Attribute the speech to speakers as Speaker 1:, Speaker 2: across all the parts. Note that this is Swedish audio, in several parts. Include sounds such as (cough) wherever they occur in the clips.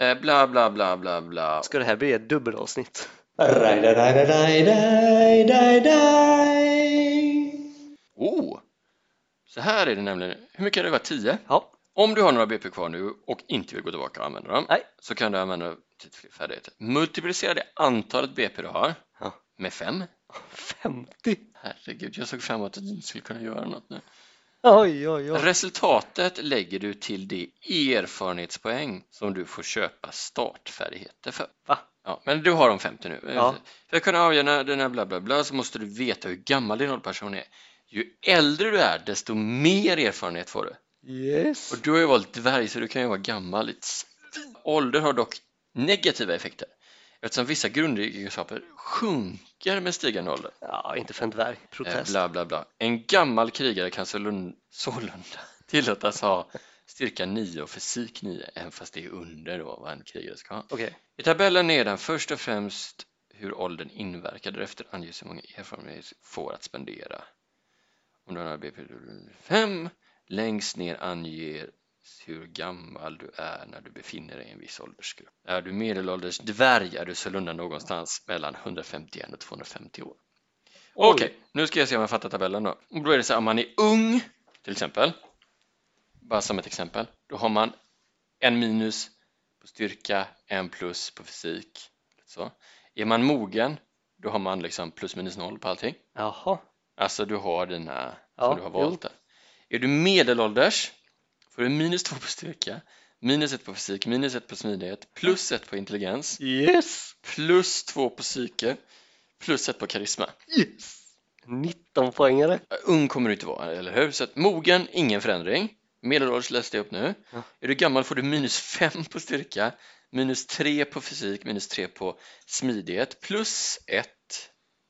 Speaker 1: Eh, Bla, bla, bla, bla, bla.
Speaker 2: Ska det här bli ett dubbelavsnitt?
Speaker 1: Oh! Så här är det nämligen. Hur mycket är det var? 10?
Speaker 2: Ja.
Speaker 1: Om du har några BP kvar nu och inte vill gå tillbaka och använda dem
Speaker 2: Nej.
Speaker 1: så kan du använda dem till fler färdigheter. Multiplicera det antalet BP du har
Speaker 2: Ja.
Speaker 1: med 5.
Speaker 2: 50!
Speaker 1: Herregud, jag såg fram emot att du inte skulle kunna göra något nu.
Speaker 2: Oj, oj, oj.
Speaker 1: Resultatet lägger du till de erfarenhetspoäng som du får köpa startfärdigheter för.
Speaker 2: Va?
Speaker 1: Ja, men du har de 50 nu.
Speaker 2: Ja.
Speaker 1: För att kunna avgöra den här bla bla bla så måste du veta hur gammal din rollperson är. Ju äldre du är desto mer erfarenhet får du.
Speaker 2: Yes.
Speaker 1: Och du har ju valt dvärg så du kan ju vara gammal. i ett svin. Ålder har dock negativa effekter eftersom vissa grundegenskaper sjunker med stigande ålder.
Speaker 2: Ja, inte för en dvärg.
Speaker 1: Eh,
Speaker 2: Protest.
Speaker 1: Bla, bla, bla. En gammal krigare kan sålun- sålunda (laughs) tillåtas ha styrka 9 och fysik 9, även fast det är under då vad en krigare ska ha.
Speaker 2: Okej.
Speaker 1: I tabellen nedan först och främst hur åldern inverkar, därefter anges hur många erfarenheter du får att spendera. Om du har BP 5, längst ner anger hur gammal du är när du befinner dig i en viss åldersgrupp. Är du medelålders dvärg är du sålunda någonstans mellan 151 och 250 år.
Speaker 2: Oj.
Speaker 1: Okej, nu ska jag se om jag fattar tabellen då. Och Då är det så här, om man är ung, till exempel, bara som ett exempel, då har man en minus på styrka, en plus på fysik. Så. Är man mogen, då har man liksom plus minus noll på allting.
Speaker 2: Jaha.
Speaker 1: Alltså du har dina
Speaker 2: Ja,
Speaker 1: som du har
Speaker 2: jo.
Speaker 1: valt där. Är du medelålders får du minus två på styrka, minus ett på fysik, minus ett på smidighet, plus ett på intelligens,
Speaker 2: Yes!
Speaker 1: plus två på psyke, plus ett på karisma.
Speaker 2: Yes! 19 poängare.
Speaker 1: Ung kommer du inte vara, eller hur? Så att mogen, ingen förändring. Medelålders läste jag upp nu.
Speaker 2: Ja.
Speaker 1: Är du gammal får du minus 5 på styrka, minus 3 på fysik, minus 3 på smidighet, plus 1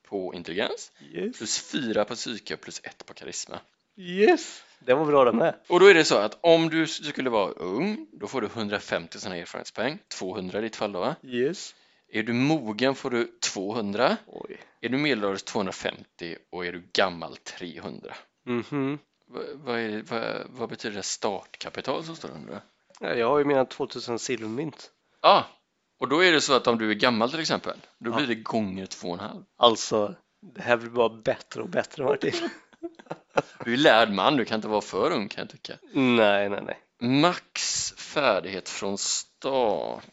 Speaker 1: på intelligens,
Speaker 2: Yes.
Speaker 1: plus 4 på psyke och plus 1 på karisma.
Speaker 2: Yes! Den var bra den med.
Speaker 1: Och då är det så att om du skulle vara ung, då får du 150 sådana erfarenhetspoäng, 200 i ditt fall då. va?
Speaker 2: Yes.
Speaker 1: Är du mogen får du 200,
Speaker 2: Oj.
Speaker 1: är du medelålders 250 och är du gammal 300.
Speaker 2: Mhm.
Speaker 1: Va- Vad, är det, vad, vad betyder det startkapital som står under? Ja,
Speaker 2: Ja, Jag har ju mina 2000 silvermynt.
Speaker 1: ah, och då är det så att om du är gammal till exempel, då
Speaker 2: Ja.
Speaker 1: blir det gånger två och en halv.
Speaker 2: Alltså, det här blir bara bättre och bättre (laughs) Martin.
Speaker 1: Du är lärd man, du kan inte vara för ung kan jag tycka.
Speaker 2: nej, nej, nej.
Speaker 1: Max färdighet från start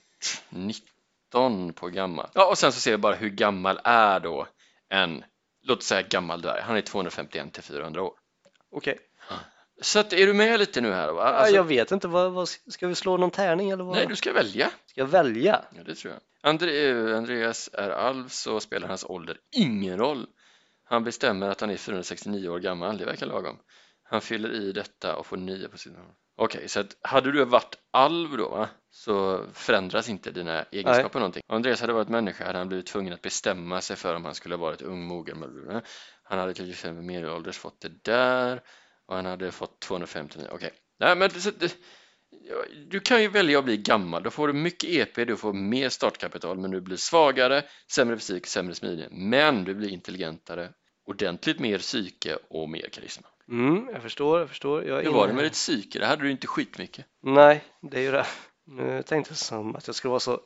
Speaker 1: 19 på gammal. Ja, och sen så ser vi bara hur gammal är då en, låt säga gammal dvärg, han är 251 till 400 år.
Speaker 2: Okej.
Speaker 1: Så att, är du med lite nu här? Va?
Speaker 2: Ja,
Speaker 1: Alltså,
Speaker 2: jag vet inte, vad, vad, ska vi slå någon tärning eller vad?
Speaker 1: Nej, du ska välja.
Speaker 2: Ska jag välja?
Speaker 1: Ja, det tror jag. Andre, eh, Andreas är alv så spelar hans ålder ingen roll. Han bestämmer att han är 469 år gammal, det verkar lagom. Han fyller i detta och får 9 på sin roll. Okej, så att hade du varit alv då va? så förändras inte dina egenskaper någonting. Om Andreas hade varit människa hade han blivit tvungen att bestämma sig för om han skulle ha varit ung, mogen, bla, bla, bla. Han hade till exempel medelålders fått det där och han hade fått 259. Okej, nej men så, det, Ja, Du kan ju välja att bli gammal, då får du mycket EP, du får mer startkapital men du blir svagare, sämre fysik, sämre smidighet. Men du blir intelligentare, ordentligt mer psyke och mer karisma.
Speaker 2: Mm, jag förstår, jag förstår. Jag är
Speaker 1: Hur var det
Speaker 2: inne
Speaker 1: med
Speaker 2: här.
Speaker 1: ditt psyke? Det hade du inte skitmycket.
Speaker 2: Nej, det är ju det. Nu tänkte jag som att jag skulle vara så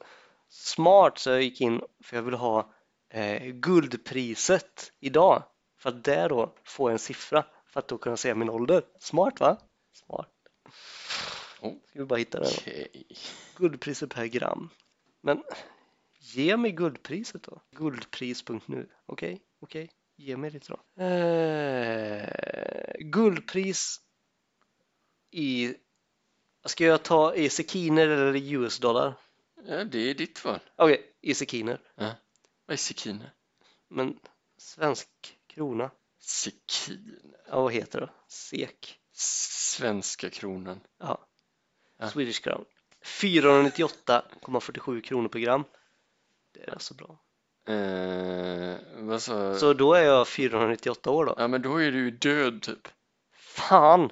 Speaker 2: smart så jag gick in för jag vill ha eh, guldpriset idag. För att där då få en siffra för att då kunna säga min ålder. Smart va? Smart.
Speaker 1: Oh.
Speaker 2: Ska vi bara hitta det då.
Speaker 1: Okej.
Speaker 2: Guldpriset per gram. Men ge mig guldpriset då. Guldpris.nu. Okej, okej. Ge mig det då. Eh, guldpris i... Ska jag ta i sekiner eller i US-dollar?
Speaker 1: Ja, det är ditt val.
Speaker 2: Okej, i sekiner.
Speaker 1: Vad är sekiner?
Speaker 2: Men svensk krona.
Speaker 1: Sekiner?
Speaker 2: Ja, vad heter det? SEK.
Speaker 1: Svenska kronan?
Speaker 2: Ja.
Speaker 1: Ja.
Speaker 2: Swedish crown. 498,47 kronor per gram. Det är alltså bra.
Speaker 1: Eh, vad sa
Speaker 2: Så då är jag 498 år då.
Speaker 1: Ja, men då är du ju död typ.
Speaker 2: Fan!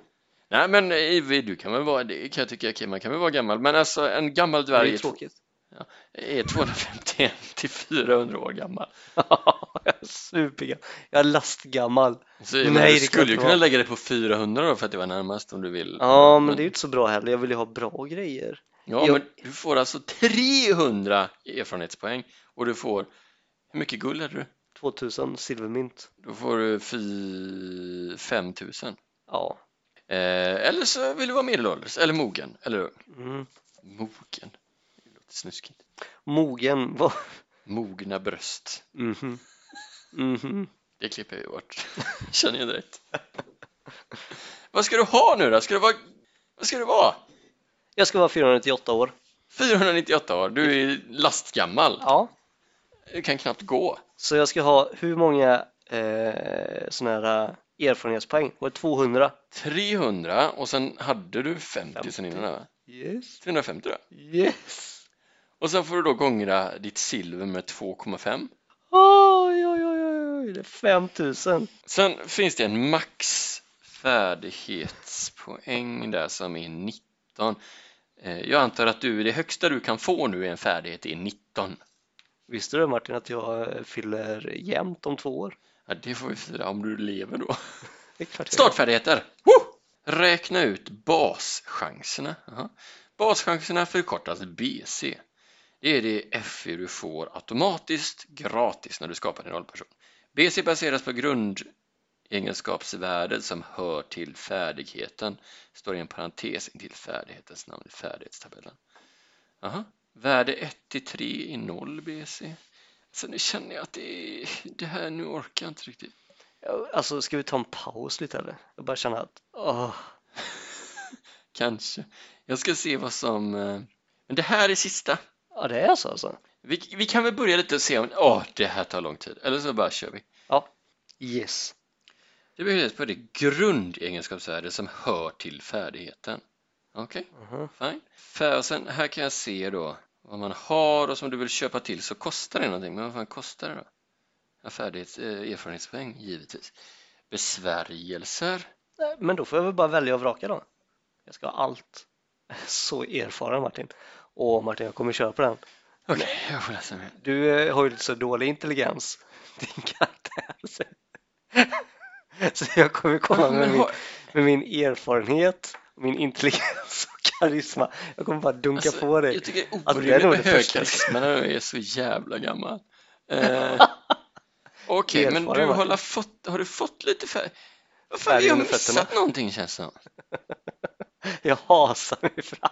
Speaker 1: Nej, men Ivi, du kan väl vara det kan jag tycka. Okej, man kan väl vara gammal, men alltså en gammal
Speaker 2: Det
Speaker 1: dvärg
Speaker 2: är
Speaker 1: är
Speaker 2: tråkigt.
Speaker 1: är 251 till 400 år gammal.
Speaker 2: jag (laughs) är supergammal. Jag är lastgammal.
Speaker 1: Så jag
Speaker 2: Nej,
Speaker 1: menar,
Speaker 2: det
Speaker 1: du
Speaker 2: kan
Speaker 1: skulle
Speaker 2: inte
Speaker 1: ju kunna
Speaker 2: vara.
Speaker 1: lägga det på 400 då för att det var närmast om du vill.
Speaker 2: Ja, men det är ju inte så bra heller. Jag vill ju ha bra grejer.
Speaker 1: Ja,
Speaker 2: Jo.
Speaker 1: men du får alltså 300 erfarenhetspoäng och du får, hur mycket guld hade du?
Speaker 2: 2000 silvermynt.
Speaker 1: Då får du fy- 5000.
Speaker 2: Ja.
Speaker 1: Eh, eller så vill du vara medelålders eller mogen eller ung.
Speaker 2: Mm.
Speaker 1: Mogen? Det låter snuskigt.
Speaker 2: Mogen var...
Speaker 1: Mogna bröst.
Speaker 2: Mhm. Mhm.
Speaker 1: Det klipper jag ju bort. (laughs) Känner jag direkt. Vad ska du ha nu då? Ska du vara... Vad ska du vara?
Speaker 2: Jag ska vara 498 år.
Speaker 1: 498 år, du är lastgammal.
Speaker 2: Ja.
Speaker 1: Du kan knappt gå.
Speaker 2: Så jag ska ha hur många eh, sådana här erfarenhetspoäng? Var det 200?
Speaker 1: 300 och sen hade du 50 sen innan va?
Speaker 2: Yes.
Speaker 1: 350 då.
Speaker 2: Yes.
Speaker 1: Och sen får du då gångra ditt silver med 2,5.
Speaker 2: Oj, oj, oj, oj, oj. Det är 5000.
Speaker 1: Sen finns det en max färdighetspoäng där som är 19. Eh, Jag antar att du, det högsta du kan få nu i en färdighet är 19.
Speaker 2: Visste du Martin att jag eh, fyller jämnt om två år?
Speaker 1: Ja, det får vi fira om du lever då.
Speaker 2: Det är klart jag gör.
Speaker 1: Startfärdigheter! Woo! Räkna ut baschanserna. Jaha. Baschanserna förkortas BC. Det är det FE du får automatiskt gratis när du skapar din rollperson. BC baseras på grundegenskapsvärdet som hör till färdigheten. Står i en parentes intill färdighetens namn i färdighetstabellen. Jaha. Värde 1 till 3 är 0 BC. Så Alltså, nu känner jag att det, är, det här, nu orkar jag inte riktigt.
Speaker 2: Ja, Alltså, ska vi ta en paus lite eller? Jag bara känner att, åh.
Speaker 1: Kanske. Jag ska se vad som... eh, Men det här är sista.
Speaker 2: Ja, det är så alltså?
Speaker 1: Vi, vi kan väl börja lite och se om... Åh, det här tar lång tid. Eller så bara kör vi.
Speaker 2: Yes.
Speaker 1: Det behövs på det grundegenskapsvärde som hör till färdigheten. Okej,
Speaker 2: Mhm.
Speaker 1: fine. Fär, och sen här kan jag se då vad man har och som du vill köpa till så kostar det någonting. Men vad fan kostar det då? Ja, färdighets, eh, erfarenhetspoäng, givetvis. Besvärjelser.
Speaker 2: Nej, Men då får jag väl bara välja och vraka då. Jag ska ha allt. (laughs) Så erfaren Martin. Åh Martin, jag kommer köra på den.
Speaker 1: Okej, jag får läsa mer.
Speaker 2: Du eh, har ju lite så dålig intelligens, (laughs) din karaktär. (laughs) Så, så jag kommer komma med
Speaker 1: Men
Speaker 2: min,
Speaker 1: (laughs) har-
Speaker 2: med min erfarenhet, min intelligens och karisma. Jag kommer bara dunka
Speaker 1: Alltså,
Speaker 2: på dig.
Speaker 1: Jag tycker det är
Speaker 2: Alltså, det är
Speaker 1: orimligt
Speaker 2: nog
Speaker 1: med
Speaker 2: det
Speaker 1: hög
Speaker 2: första.
Speaker 1: karisma när du är så jävla (laughs) gammal. Eh, Okej, men
Speaker 2: Erfaren,
Speaker 1: du har,
Speaker 2: Martin.
Speaker 1: la fått, har du fått lite färg? Vad fan,
Speaker 2: Färg
Speaker 1: vi har
Speaker 2: under
Speaker 1: missat
Speaker 2: fötterna.
Speaker 1: någonting känns som.
Speaker 2: (laughs) Jag hasar mig fram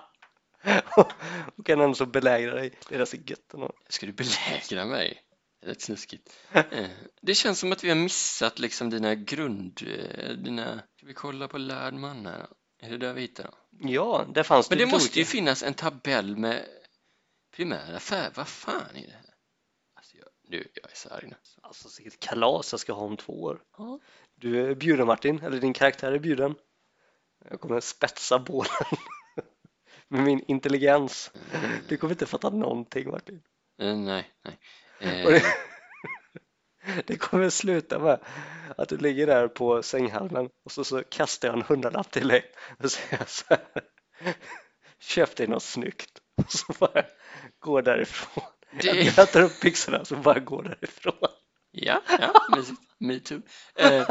Speaker 2: (laughs) och kan ändå så belägra dig. Det är rätt så gött ändå.
Speaker 1: Ska du belägra mig? Det är Rätt (laughs) snuskigt. Eh, Det känns som att vi har missat liksom dina grund... eh, Dina... Ska vi kolla på lärd man här? Är det där vi hittar dem?
Speaker 2: Ja, där fanns
Speaker 1: Men det
Speaker 2: lite
Speaker 1: måste ju
Speaker 2: olika.
Speaker 1: finnas en tabell med primära färger. Vad fan är det här? Alltså, jag, nu, jag är så arg nu.
Speaker 2: Alltså sitt kalas jag ska ha om två år.
Speaker 1: Ja.
Speaker 2: Du är bjuden Martin, eller din karaktär är bjuden. Jag kommer spetsa bålen (laughs) med min intelligens. Du kommer inte fatta någonting Martin.
Speaker 1: Eh, Nej, nej. Eh, (laughs)
Speaker 2: Och det, (laughs) det kommer sluta med att du ligger där på sänghalmen och så, så kastar jag en hundralapp till dig och säger så här. (laughs) Köp dig något snyggt och så bara går därifrån.
Speaker 1: Det-
Speaker 2: Jag tar upp byxorna så bara går därifrån.
Speaker 1: Ja, ja mysigt.
Speaker 2: (laughs)
Speaker 1: Me too. Eh,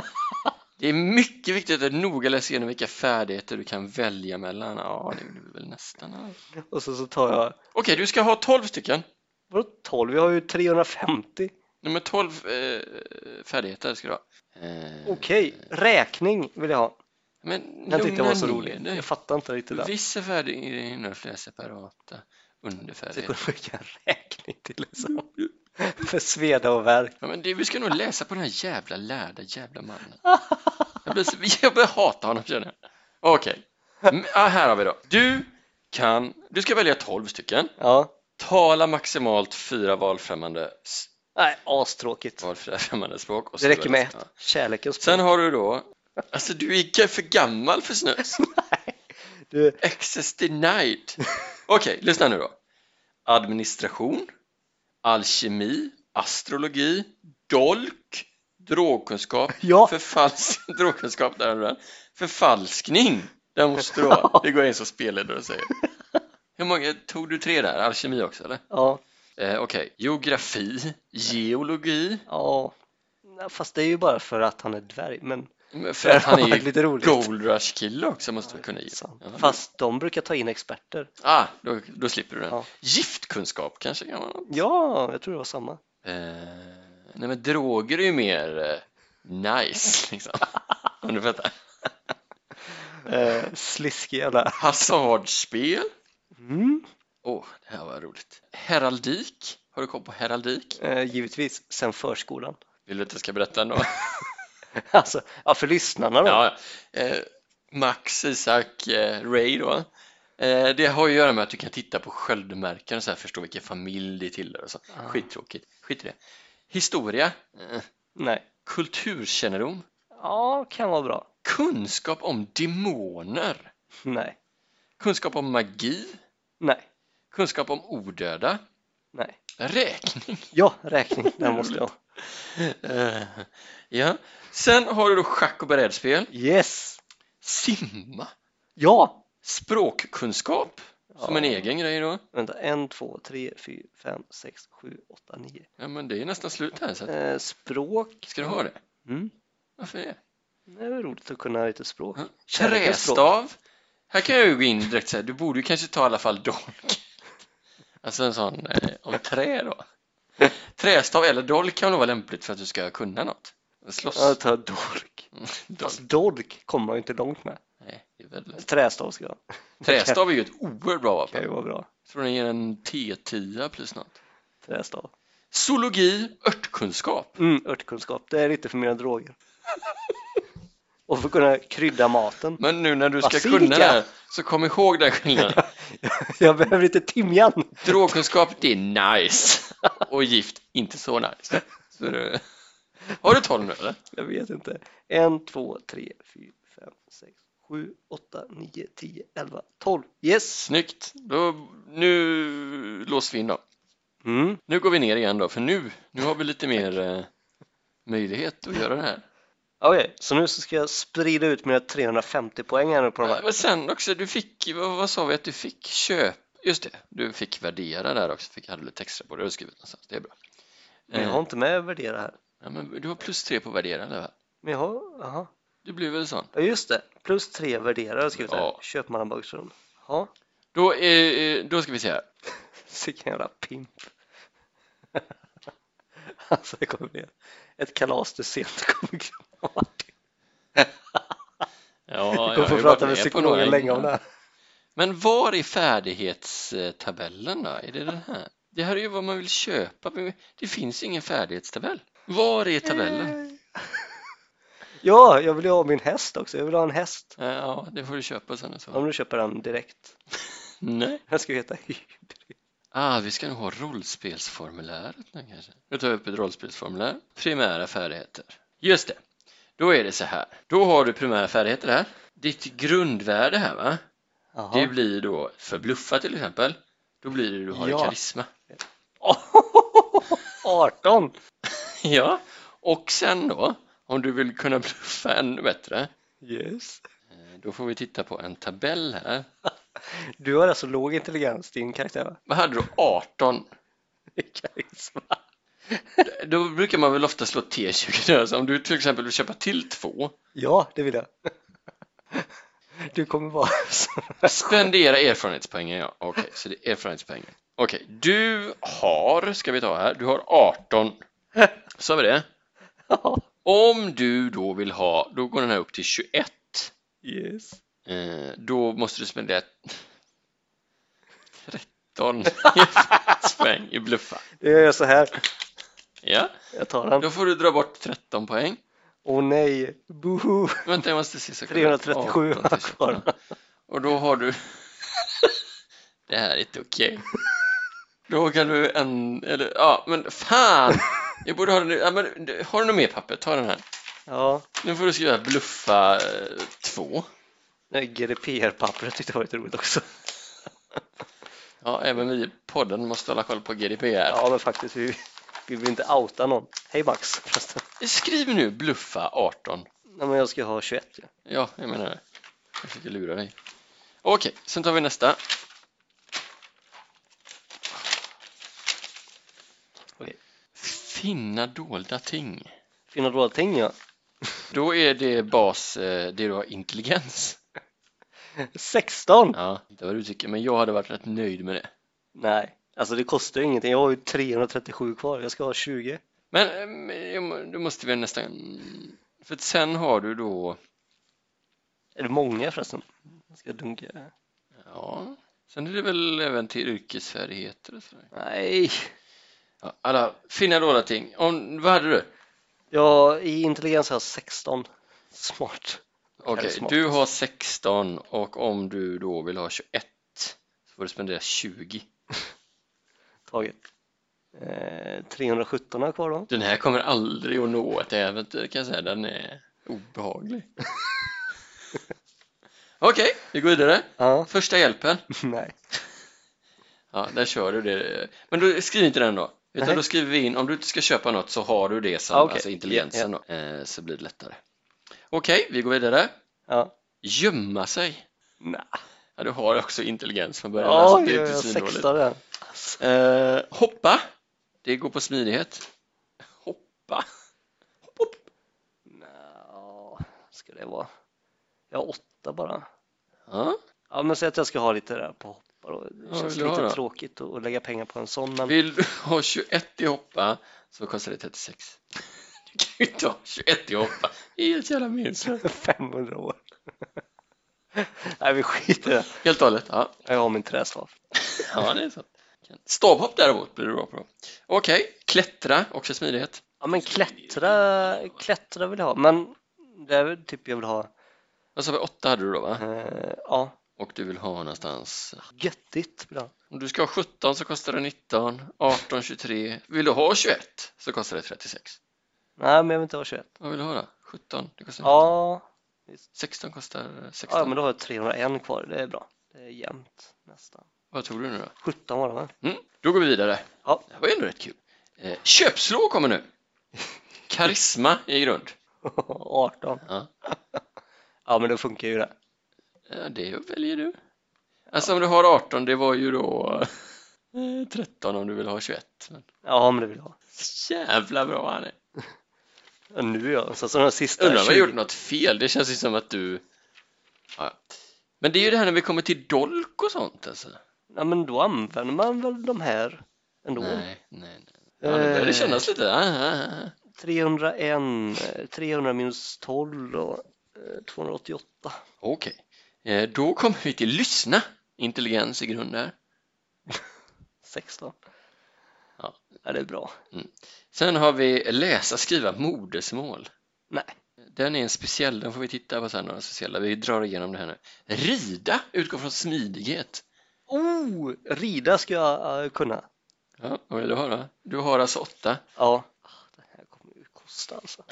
Speaker 1: det är mycket viktigt att noga läsa igenom vilka färdigheter du kan välja mellan. Ja, det gjorde vi väl nästan. alla. Okej,
Speaker 2: Och så, så tar jag,
Speaker 1: du ska ha 12 stycken.
Speaker 2: vadå 12? Jag har ju 350.
Speaker 1: Nummer 12 eh, färdigheter ska du ha. Eh,
Speaker 2: Okej, räkning vill jag ha.
Speaker 1: Men
Speaker 2: Den tyckte jag var så
Speaker 1: lugna
Speaker 2: rolig.
Speaker 1: ner dig.
Speaker 2: Jag fattar inte riktigt den.
Speaker 1: Vissa färdigheter innehåller flera separata
Speaker 2: Du kunde
Speaker 1: underfärdigheter.
Speaker 2: skicka en räkning till liksom. (laughs) För sveda och värk.
Speaker 1: Ja, men det, vi ska nog läsa på den här jävla lärda jävla mannen. Jag, blir, så- jag börjar hata honom känner jag. Okej, M- ah, här har vi då. Du kan, du ska välja 12 stycken.
Speaker 2: Ja,
Speaker 1: Tala maximalt fyra valfrämmande, s-
Speaker 2: nej astråkigt.
Speaker 1: valfria främmande språk. Och
Speaker 2: Det räcker med
Speaker 1: skriva-
Speaker 2: ett. Kärlekens
Speaker 1: Sen
Speaker 2: språk.
Speaker 1: har du då, alltså du är g- för gammal för snus.
Speaker 2: Du,
Speaker 1: Access denied. Okej, lyssna nu då. Administration, alkemi, astrologi, dolk, drogkunskap,
Speaker 2: Ja.
Speaker 1: förfalsk, (laughs) drogkunskap, där har du den. förfalskning. Där måste du vara. Det går jag in som spelledare och säger. Hur många, tog du tre där? Alkemi också eller?
Speaker 2: (laughs) ja,
Speaker 1: Eh, Okej, geografi, geologi.
Speaker 2: (laughs) ja. Nej, Fast det är ju bara för att han är dvärg, men
Speaker 1: Men För att han är ju
Speaker 2: lite roligt.
Speaker 1: Gold Rush-kille också måste vi kunna ge.
Speaker 2: Sant.
Speaker 1: Ja,
Speaker 2: Fast de brukar ta in experter.
Speaker 1: ah, då, då slipper du den.
Speaker 2: Ja.
Speaker 1: Giftkunskap kanske kan man
Speaker 2: Ja, jag tror det var samma.
Speaker 1: Eh, nej men droger är ju mer eh, nice liksom. Om du fattar.
Speaker 2: (laughs) Eh, sliskig jävla.
Speaker 1: Hasardspel.
Speaker 2: Mm.
Speaker 1: Åh, det här var roligt. Heraldik. Har du koll på heraldik?
Speaker 2: Eh, givetvis sen förskolan. (laughs)
Speaker 1: Vill du att jag ska berätta ändå?
Speaker 2: Alltså, ja, för lyssnarna då.
Speaker 1: ja, eh, Max, Isak, eh, Ray då. Eh, det har ju att göra med att du kan titta på sköldmärken och så här förstå vilken familj det tillhör och så.
Speaker 2: Ah.
Speaker 1: Skittråkigt. Skit i det. Historia. Eh,
Speaker 2: Nej.
Speaker 1: kulturkännedom.
Speaker 2: Ja, kan vara bra.
Speaker 1: Kunskap om demoner.
Speaker 2: Nej.
Speaker 1: Kunskap om magi.
Speaker 2: Nej.
Speaker 1: Kunskap om odöda.
Speaker 2: Nej.
Speaker 1: Räkning.
Speaker 2: Ja, (laughs) räkning. Den måste jag.
Speaker 1: (laughs) Eh, ja. Sen har du då schack och brädspel,
Speaker 2: Yes!
Speaker 1: simma,
Speaker 2: Ja!
Speaker 1: språkkunskap som
Speaker 2: Ja.
Speaker 1: en egen grej då.
Speaker 2: Vänta, en, två, tre, fyra, fem, sex, sju, åtta, nio.
Speaker 1: Ja, men det är nästan slut här. Så att,
Speaker 2: Eh, språk.
Speaker 1: ska du ha det?
Speaker 2: Mm.
Speaker 1: Varför det?
Speaker 2: Det är väl roligt att kunna lite språk.
Speaker 1: Ja.
Speaker 2: Kärlek är språk.
Speaker 1: Trästav. Här kan jag ju gå in direkt så här. Du borde ju kanske ta i alla fall dolk. Alltså en sån eh, om trä då. Trästav eller dolk kan nog vara lämpligt för att du ska kunna något. Slåss. Mm,
Speaker 2: Ja,
Speaker 1: (laughs)
Speaker 2: ta dork.
Speaker 1: dolk.
Speaker 2: Fast dork kommer man ju inte långt med.
Speaker 1: Nej, det är väl...
Speaker 2: Trästav ska jag.
Speaker 1: (laughs) Trästav är ju ett oerhört bra
Speaker 2: Kan
Speaker 1: vapen.
Speaker 2: ju vara bra.
Speaker 1: Tror den ger en T10 plus något.
Speaker 2: Trästav.
Speaker 1: Zoologi, örtkunskap.
Speaker 2: Mm, örtkunskap. Det är lite för
Speaker 1: (laughs)
Speaker 2: mina droger. Och för att kunna krydda maten.
Speaker 1: Men nu när du ska
Speaker 2: Basilika.
Speaker 1: kunna det här, så kom ihåg den
Speaker 2: (laughs)
Speaker 1: skillnaden.
Speaker 2: Jag behöver lite
Speaker 1: (laughs)
Speaker 2: timjan.
Speaker 1: Drogkunskap, det är nice. Och gift, inte så nice. Så du... Har du 12 nu eller?
Speaker 2: Jag vet inte. En, två, tre, fyra, fem, sex, sju, åtta, nio, tio, elva, tolv. Yes!
Speaker 1: Snyggt. Då, nu låser vi in då.
Speaker 2: Mm.
Speaker 1: Nu går vi ner igen då, för nu, nu har vi lite mer eh, möjlighet att göra det här.
Speaker 2: Okej, så nu så ska jag sprida ut mina 350 poäng här nu på de här.
Speaker 1: Men sen också, du fick, ju- vad, vad sa vi att du fick? Köp, just det, du fick värdera där också, fick, hade lite extra på det, det har du skrivit någonstans, det är bra.
Speaker 2: Men jag
Speaker 1: Eh,
Speaker 2: har inte med att värdera här.
Speaker 1: Ja, men du har plus tre på värdera eller? vad?
Speaker 2: Men jag har, aha.
Speaker 1: Du blir väl sån?
Speaker 2: Ja just det, plus tre värderare har jag skrivit
Speaker 1: Ja.
Speaker 2: här. Köpmannen Bagström. Ja,
Speaker 1: Då, är, då ska vi se här.
Speaker 2: vilken jävla pimp. (laughs) alltså det kommer bli ett kalas du sent kommer glömma Martin.
Speaker 1: (laughs) Ja,
Speaker 2: Du kommer få prata med psykologen länge om det här.
Speaker 1: Men var är färdighetstabellen då? Är det den här? Det här är ju vad man vill köpa, men det finns ingen färdighetstabell. Var är tabellen?
Speaker 2: Mm. Ja, jag vill ju ha min häst också. Jag vill ha en häst.
Speaker 1: Eh, Ja, det får du köpa sen i så. fall.
Speaker 2: Om du köper den direkt.
Speaker 1: Nej.
Speaker 2: Den ska ju heta hybrid.
Speaker 1: Ah, vi ska nog ha rollspelsformuläret nu kanske. Nu tar vi upp ett rollspelsformulär. Primära färdigheter. Just det. Då är det så här. Då har du primära färdigheter här. Ditt grundvärde här va?
Speaker 2: Jaha. (laughs)
Speaker 1: Det blir då förbluffa till exempel. Då blir det du har i
Speaker 2: Ja.
Speaker 1: karisma. (laughs)
Speaker 2: 18!
Speaker 1: Ja, och sen då om du vill kunna bluffa ännu bättre.
Speaker 2: Yes.
Speaker 1: eh, Då får vi titta på en tabell här.
Speaker 2: Du har alltså låg intelligens, din karaktär (laughs) va?
Speaker 1: Vad hade du 18?
Speaker 2: Karisma.
Speaker 1: (laughs) Då brukar man väl ofta slå T20 där. Så om du till exempel vill köpa till två.
Speaker 2: Ja, det vill jag. (laughs) Du kommer vara (laughs) så
Speaker 1: Spendera erfarenhetspoängen ja. Okej, så det är erfarenhetspoängen. Okej, du har, ska vi ta här, du har 18. Så har vi det.
Speaker 2: (laughs) Ja.
Speaker 1: Om du då vill ha, då går den här upp till 21.
Speaker 2: Yes.
Speaker 1: Eh, då måste du spendera (laughs) 13 poäng i bluffa.
Speaker 2: Jag gör så här.
Speaker 1: Ja,
Speaker 2: Jag tar den.
Speaker 1: då får du dra bort 13 poäng.
Speaker 2: Åh oh, nej. (laughs) Boho.
Speaker 1: Vänta, jag måste se. så-
Speaker 2: 337
Speaker 1: 18 till
Speaker 2: (laughs)
Speaker 1: 21.
Speaker 2: kvar.
Speaker 1: Och då har du... (laughs) det här är inte okej. Då kan du en... Eller ja, men fan! Jag borde ha den... Ja, men, har du något mer papper? Ta den här.
Speaker 2: Ja.
Speaker 1: Nu får du skriva bluffa eh, två.
Speaker 2: Nej, GDPR-pappret tyckte jag var lite roligt också.
Speaker 1: Ja, även vi i podden måste hålla koll på GDPR.
Speaker 2: Ja, men faktiskt. Vi, vi vill inte outa någon. Hej Max förresten.
Speaker 1: Skriv nu bluffa 18.
Speaker 2: Nej, men jag ska ha 21. Ja.
Speaker 1: Ja, jag menar det. Jag försöker lura dig. Okej, sen tar vi nästa.
Speaker 2: Okej.
Speaker 1: Finna dolda ting.
Speaker 2: Finna dolda ting ja.
Speaker 1: Då är det bas, eh, det du har intelligens.
Speaker 2: 16!
Speaker 1: Ja, det var du tycker, men jag hade varit rätt nöjd med det.
Speaker 2: Nej, alltså det kostar ju ingenting. Jag har ju 337 kvar. Jag ska ha 20.
Speaker 1: Men eh, jag må- då måste vi nästan... För att sen har du då...
Speaker 2: Är det många förresten? Jag ska dunka.
Speaker 1: Ja, sen är det väl även till yrkesfärdigheter och sådär.
Speaker 2: Nej,
Speaker 1: Ja, alla, finna dåliga ting. Om, vad hade du?
Speaker 2: ja, i intelligens har jag 16. Smart.
Speaker 1: Okej,
Speaker 2: Eller smart.
Speaker 1: du har 16 och om du då vill ha 21 så får du spendera 20.
Speaker 2: Taget. Eh, 317 har jag kvar då.
Speaker 1: Den här kommer aldrig att nå ett äventyr kan jag säga, den är obehaglig. Okej, vi går vidare.
Speaker 2: Ja,
Speaker 1: Första hjälpen.
Speaker 2: (laughs) nej.
Speaker 1: Ja, där kör du det. Men då skriv inte den då. Utan
Speaker 2: Nej.
Speaker 1: då skriver vi in, om du inte ska köpa något så har du det som,
Speaker 2: Ah, okej.
Speaker 1: alltså intelligensen då, eh, så blir det lättare. Okej, vi går vidare.
Speaker 2: Ja.
Speaker 1: Gömma sig.
Speaker 2: Nej.
Speaker 1: Ja, du har också intelligens från början. alltså,
Speaker 2: Ja,
Speaker 1: det är
Speaker 2: jag
Speaker 1: inte
Speaker 2: har
Speaker 1: svindåligt.
Speaker 2: 16 där.
Speaker 1: Eh, hoppa. Det går på smidighet. Hoppa. Hopp, hopp.
Speaker 2: Nå, ska det vara? Jag har 8 bara.
Speaker 1: Ja.
Speaker 2: Ja, men säg att jag ska ha lite där på hoppa då. Det
Speaker 1: Ja,
Speaker 2: känns
Speaker 1: vill du ha
Speaker 2: lite
Speaker 1: då?
Speaker 2: tråkigt att att lägga pengar på en sån, men
Speaker 1: Vill du ha 21 i hoppa så kostar det 36. (laughs) Du kan ju inte ha 21 i hoppa. Det är helt jävla
Speaker 2: (laughs)
Speaker 1: meningslöst.
Speaker 2: 500 år. Nej, vi skiter i det.
Speaker 1: Helt och hållet. Ja.
Speaker 2: Jag har min trästav.
Speaker 1: (laughs) ja, det är sant. Stavhopp däremot blir du bra på. Okej, klättra, också smidighet.
Speaker 2: Ja, men klättra, klättra vill jag ha, men det är väl typ jag vill ha.
Speaker 1: Vad sa vi, 8 hade du då va?
Speaker 2: Eh, ja,
Speaker 1: Och du vill ha någonstans
Speaker 2: göttigt vill jag ha.
Speaker 1: Om du ska ha 17 så kostar det 19, 18, 23. Vill du ha 21 så kostar det 36.
Speaker 2: Nej, men jag vill inte ha 21.
Speaker 1: Vad vill du ha då? 17? Det kostar
Speaker 2: Ja,
Speaker 1: 16 kostar 16.
Speaker 2: ja, men då har jag 301 kvar. Det är bra. Det är jämnt nästan.
Speaker 1: Vad tog du nu då?
Speaker 2: 17 var det va? (laughs)
Speaker 1: Mm. Då går vi vidare.
Speaker 2: Ja.
Speaker 1: Det här var ju ändå rätt kul. Eh, köpslå kommer
Speaker 2: (laughs)
Speaker 1: nu. Karisma i grund.
Speaker 2: 18.
Speaker 1: Ja.
Speaker 2: (laughs) Ja, men då funkar ju det.
Speaker 1: Eh, det väljer du. Alltså om du har 18, det var ju då eh, 13 om du vill ha 21. Men,
Speaker 2: Ja, men det vill jag ha.
Speaker 1: jävla bra han är.
Speaker 2: Ja, nu ja. Så, så den sista
Speaker 1: Undrar om jag
Speaker 2: 20.
Speaker 1: gjort något fel. Det känns ju som att du... Ja. ja. Men det är ju det här när vi kommer till dolk och sånt alltså.
Speaker 2: Ja, men då använder man väl de här ändå.
Speaker 1: Nej, nej, nej. Ja, nu börjar det
Speaker 2: Eh.
Speaker 1: kännas lite... Ah, ah, ah.
Speaker 2: 301, eh, 300 minus 12 och eh, (laughs) 288.
Speaker 1: Okej, Eh, då kommer vi till lyssna. Intelligens i grund där.
Speaker 2: 16.
Speaker 1: Ja.
Speaker 2: ja, det är bra.
Speaker 1: Sen har vi läsa, skriva, modersmål.
Speaker 2: Nej.
Speaker 1: Den är en speciell, den får vi titta på sen, några speciella. Vi drar igenom det här nu. Rida, utgår från smidighet.
Speaker 2: Oh, rida ska jag eh, kunna.
Speaker 1: Ja, vad vill du ha då? Du har alltså åtta.
Speaker 2: Ja. Ah, Det här kommer ju kosta alltså.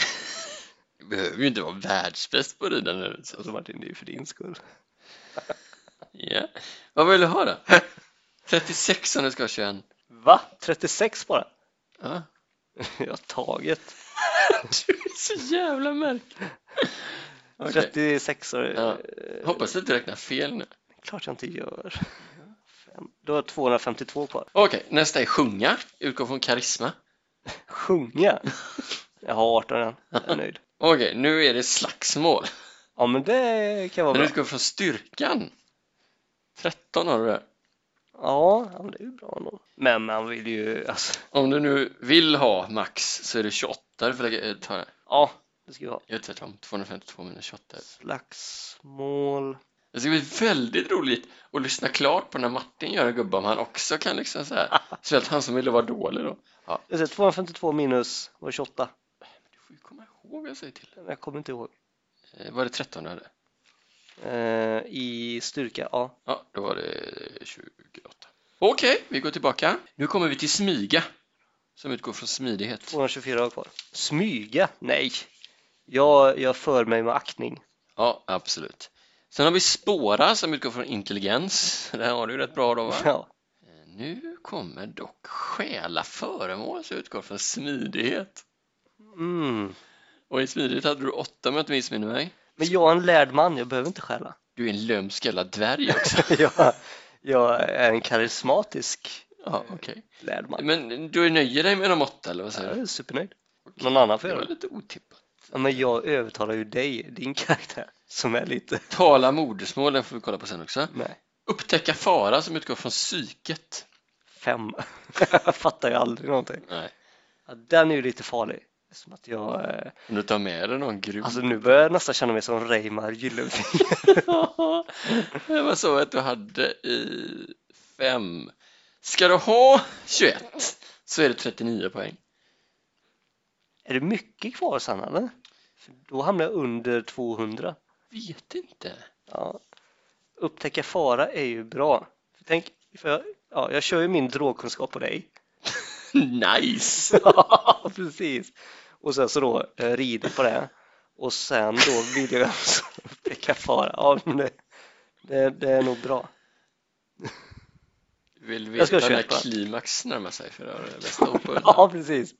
Speaker 1: Du behöver ju inte vara världsbäst på rida nu. Så.
Speaker 2: Alltså Martin, det är ju för din skull.
Speaker 1: Ja. Vad vill du ha då? 36 om du ska ha 21.
Speaker 2: Va? 36 bara?
Speaker 1: Ja.
Speaker 2: (laughs) Jag har (laughs) taget.
Speaker 1: Du är så jävla märklig. Okej.
Speaker 2: 36 är
Speaker 1: Ja.
Speaker 2: eh,
Speaker 1: Hoppas du inte räknar fel nu.
Speaker 2: klart jag inte gör. Fem. Då har jag 252 kvar.
Speaker 1: Okej, nästa är sjunga, utgår från karisma.
Speaker 2: (laughs) Sjunga? Jag har 18 än. Jag är nöjd.
Speaker 1: Okej, nu är det slagsmål.
Speaker 2: Ja, men det kan vara
Speaker 1: Den
Speaker 2: bra.
Speaker 1: utgår från styrkan. 13 har du där.
Speaker 2: Ja, ja, men det är ju bra ändå. Men man vill ju, alltså,
Speaker 1: Om du nu vill ha max så är det 28. Du får lägga, eh, ta det.
Speaker 2: ja, det ska ju vara
Speaker 1: Jag är tvärtom, 252 minus 28.
Speaker 2: slagsmål.
Speaker 1: Det ska bli väldigt roligt att lyssna klart på när Martin gör en gubbe om han också kan liksom så här. Speciellt han som ville vara dålig då.
Speaker 2: Jag säger 252 minus var 28.
Speaker 1: Du får ju komma ihåg vad jag säger till.
Speaker 2: Men Jag kommer inte ihåg.
Speaker 1: Eh, Var det 13 du hade?
Speaker 2: Eh, I styrka, ja.
Speaker 1: Ja, då var det 28. Okej, vi går tillbaka. Nu kommer vi till smyga, som utgår från smidighet.
Speaker 2: 224 var kvar. Smyga? Nej. Jag, jag för mig med aktning.
Speaker 1: Ja, absolut. Sen har vi spåra, som utgår från intelligens. Det här har du ju rätt bra då, va?
Speaker 2: (laughs) Ja.
Speaker 1: Eh, Nu kommer dock stjäla föremål, som utgår från smidighet.
Speaker 2: Mm.
Speaker 1: Och i smidighet hade du åtta, om jag inte missminner mig.
Speaker 2: Men jag är en lärd man, jag behöver
Speaker 1: (laughs)
Speaker 2: inte stjäla. (laughs)
Speaker 1: Du är en lömsk jävla dvärg också.
Speaker 2: jag, jag är en karismatisk
Speaker 1: Ja, okej.
Speaker 2: lärd man.
Speaker 1: Men du nöjer dig med de åtta, eller vad
Speaker 2: Jag
Speaker 1: säger du?
Speaker 2: är supernöjd. Någon annan får
Speaker 1: Det
Speaker 2: göra
Speaker 1: var
Speaker 2: det.
Speaker 1: lite otippat. Precis.
Speaker 2: Ja, men jag övertalar ju dig, din karaktär, som är lite...
Speaker 1: Tala modersmål, den får vi kolla på sen också.
Speaker 2: Nej,
Speaker 1: Upptäcka fara som utgår från psyket.
Speaker 2: fem. (laughs) jag fattar ju aldrig någonting.
Speaker 1: Nej.
Speaker 2: Ja, den är ju lite farlig. Som att jag... Eh...
Speaker 1: Om du tar med dig någon grov.
Speaker 2: Alltså nu börjar jag nästan känna mig som Reimar Gyllenfinger.
Speaker 1: (laughs)
Speaker 2: (laughs)
Speaker 1: det var så att du hade i fem. Ska du ha 21 så är det 39 poäng.
Speaker 2: är det mycket kvar sen eller? För då hamnar jag under 200.
Speaker 1: Vet inte.
Speaker 2: Ja. Upptäcka fara är ju bra. För tänk, för jag, ja, jag kör ju min drogkunskap på dig.
Speaker 1: (laughs)
Speaker 2: (laughs)
Speaker 1: nice!
Speaker 2: Ja, precis. Och sen så då eh, rider på det och sen då vill jag alltså upptäcka fara. Ja, men det, det, det är nog bra.
Speaker 1: Vill
Speaker 2: Jag ska
Speaker 1: veta när
Speaker 2: köpa.
Speaker 1: klimax närmar sig för att läsa upp på den.
Speaker 2: (laughs) Ja, precis.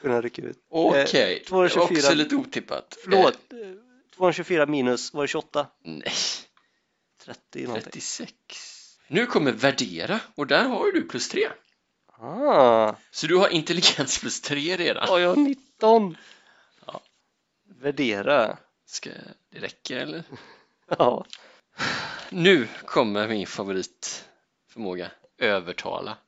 Speaker 2: Kunna rycka ut.
Speaker 1: Okej,
Speaker 2: Eh,
Speaker 1: det var
Speaker 2: 224.
Speaker 1: också lite otippat.
Speaker 2: Förlåt,
Speaker 1: Eh,
Speaker 2: eh, 224 minus, var det 28?
Speaker 1: nej,
Speaker 2: 30 någonting.
Speaker 1: 36. Nu kommer värdera och där har ju du plus 3.
Speaker 2: Ah,
Speaker 1: Så du har intelligens plus 3 redan.
Speaker 2: ja, jag har 19.
Speaker 1: Ja.
Speaker 2: Värdera.
Speaker 1: Ska det räcka eller?
Speaker 2: Ja,
Speaker 1: Nu kommer min favoritförmåga, övertala.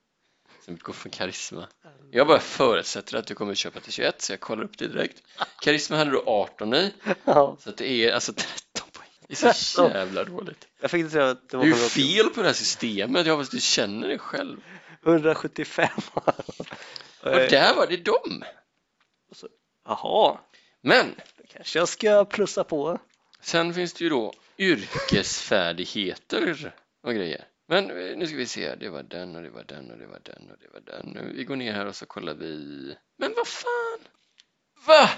Speaker 1: Som utgår från karisma. Jag bara förutsätter att du kommer köpa till 21 så jag kollar upp det direkt. Karisma hade du 18 i,
Speaker 2: ja.
Speaker 1: så att det är alltså 13 poäng. Det är så
Speaker 2: 13.
Speaker 1: jävla dåligt.
Speaker 2: Jag fick inte säga att det
Speaker 1: Det
Speaker 2: var
Speaker 1: är ju
Speaker 2: 180.
Speaker 1: fel på det här systemet, jag hoppas du känner det själv.
Speaker 2: 175.
Speaker 1: Och
Speaker 2: Eh,
Speaker 1: där var det dem!
Speaker 2: Jaha,
Speaker 1: Men
Speaker 2: då kanske jag ska plussa på.
Speaker 1: sen finns det ju då yrkesfärdigheter och grejer. Men eh, nu ska vi se, det var den och det var den och det var den och det var den. Vi går ner här och så kollar vi. Men vad fan? Va?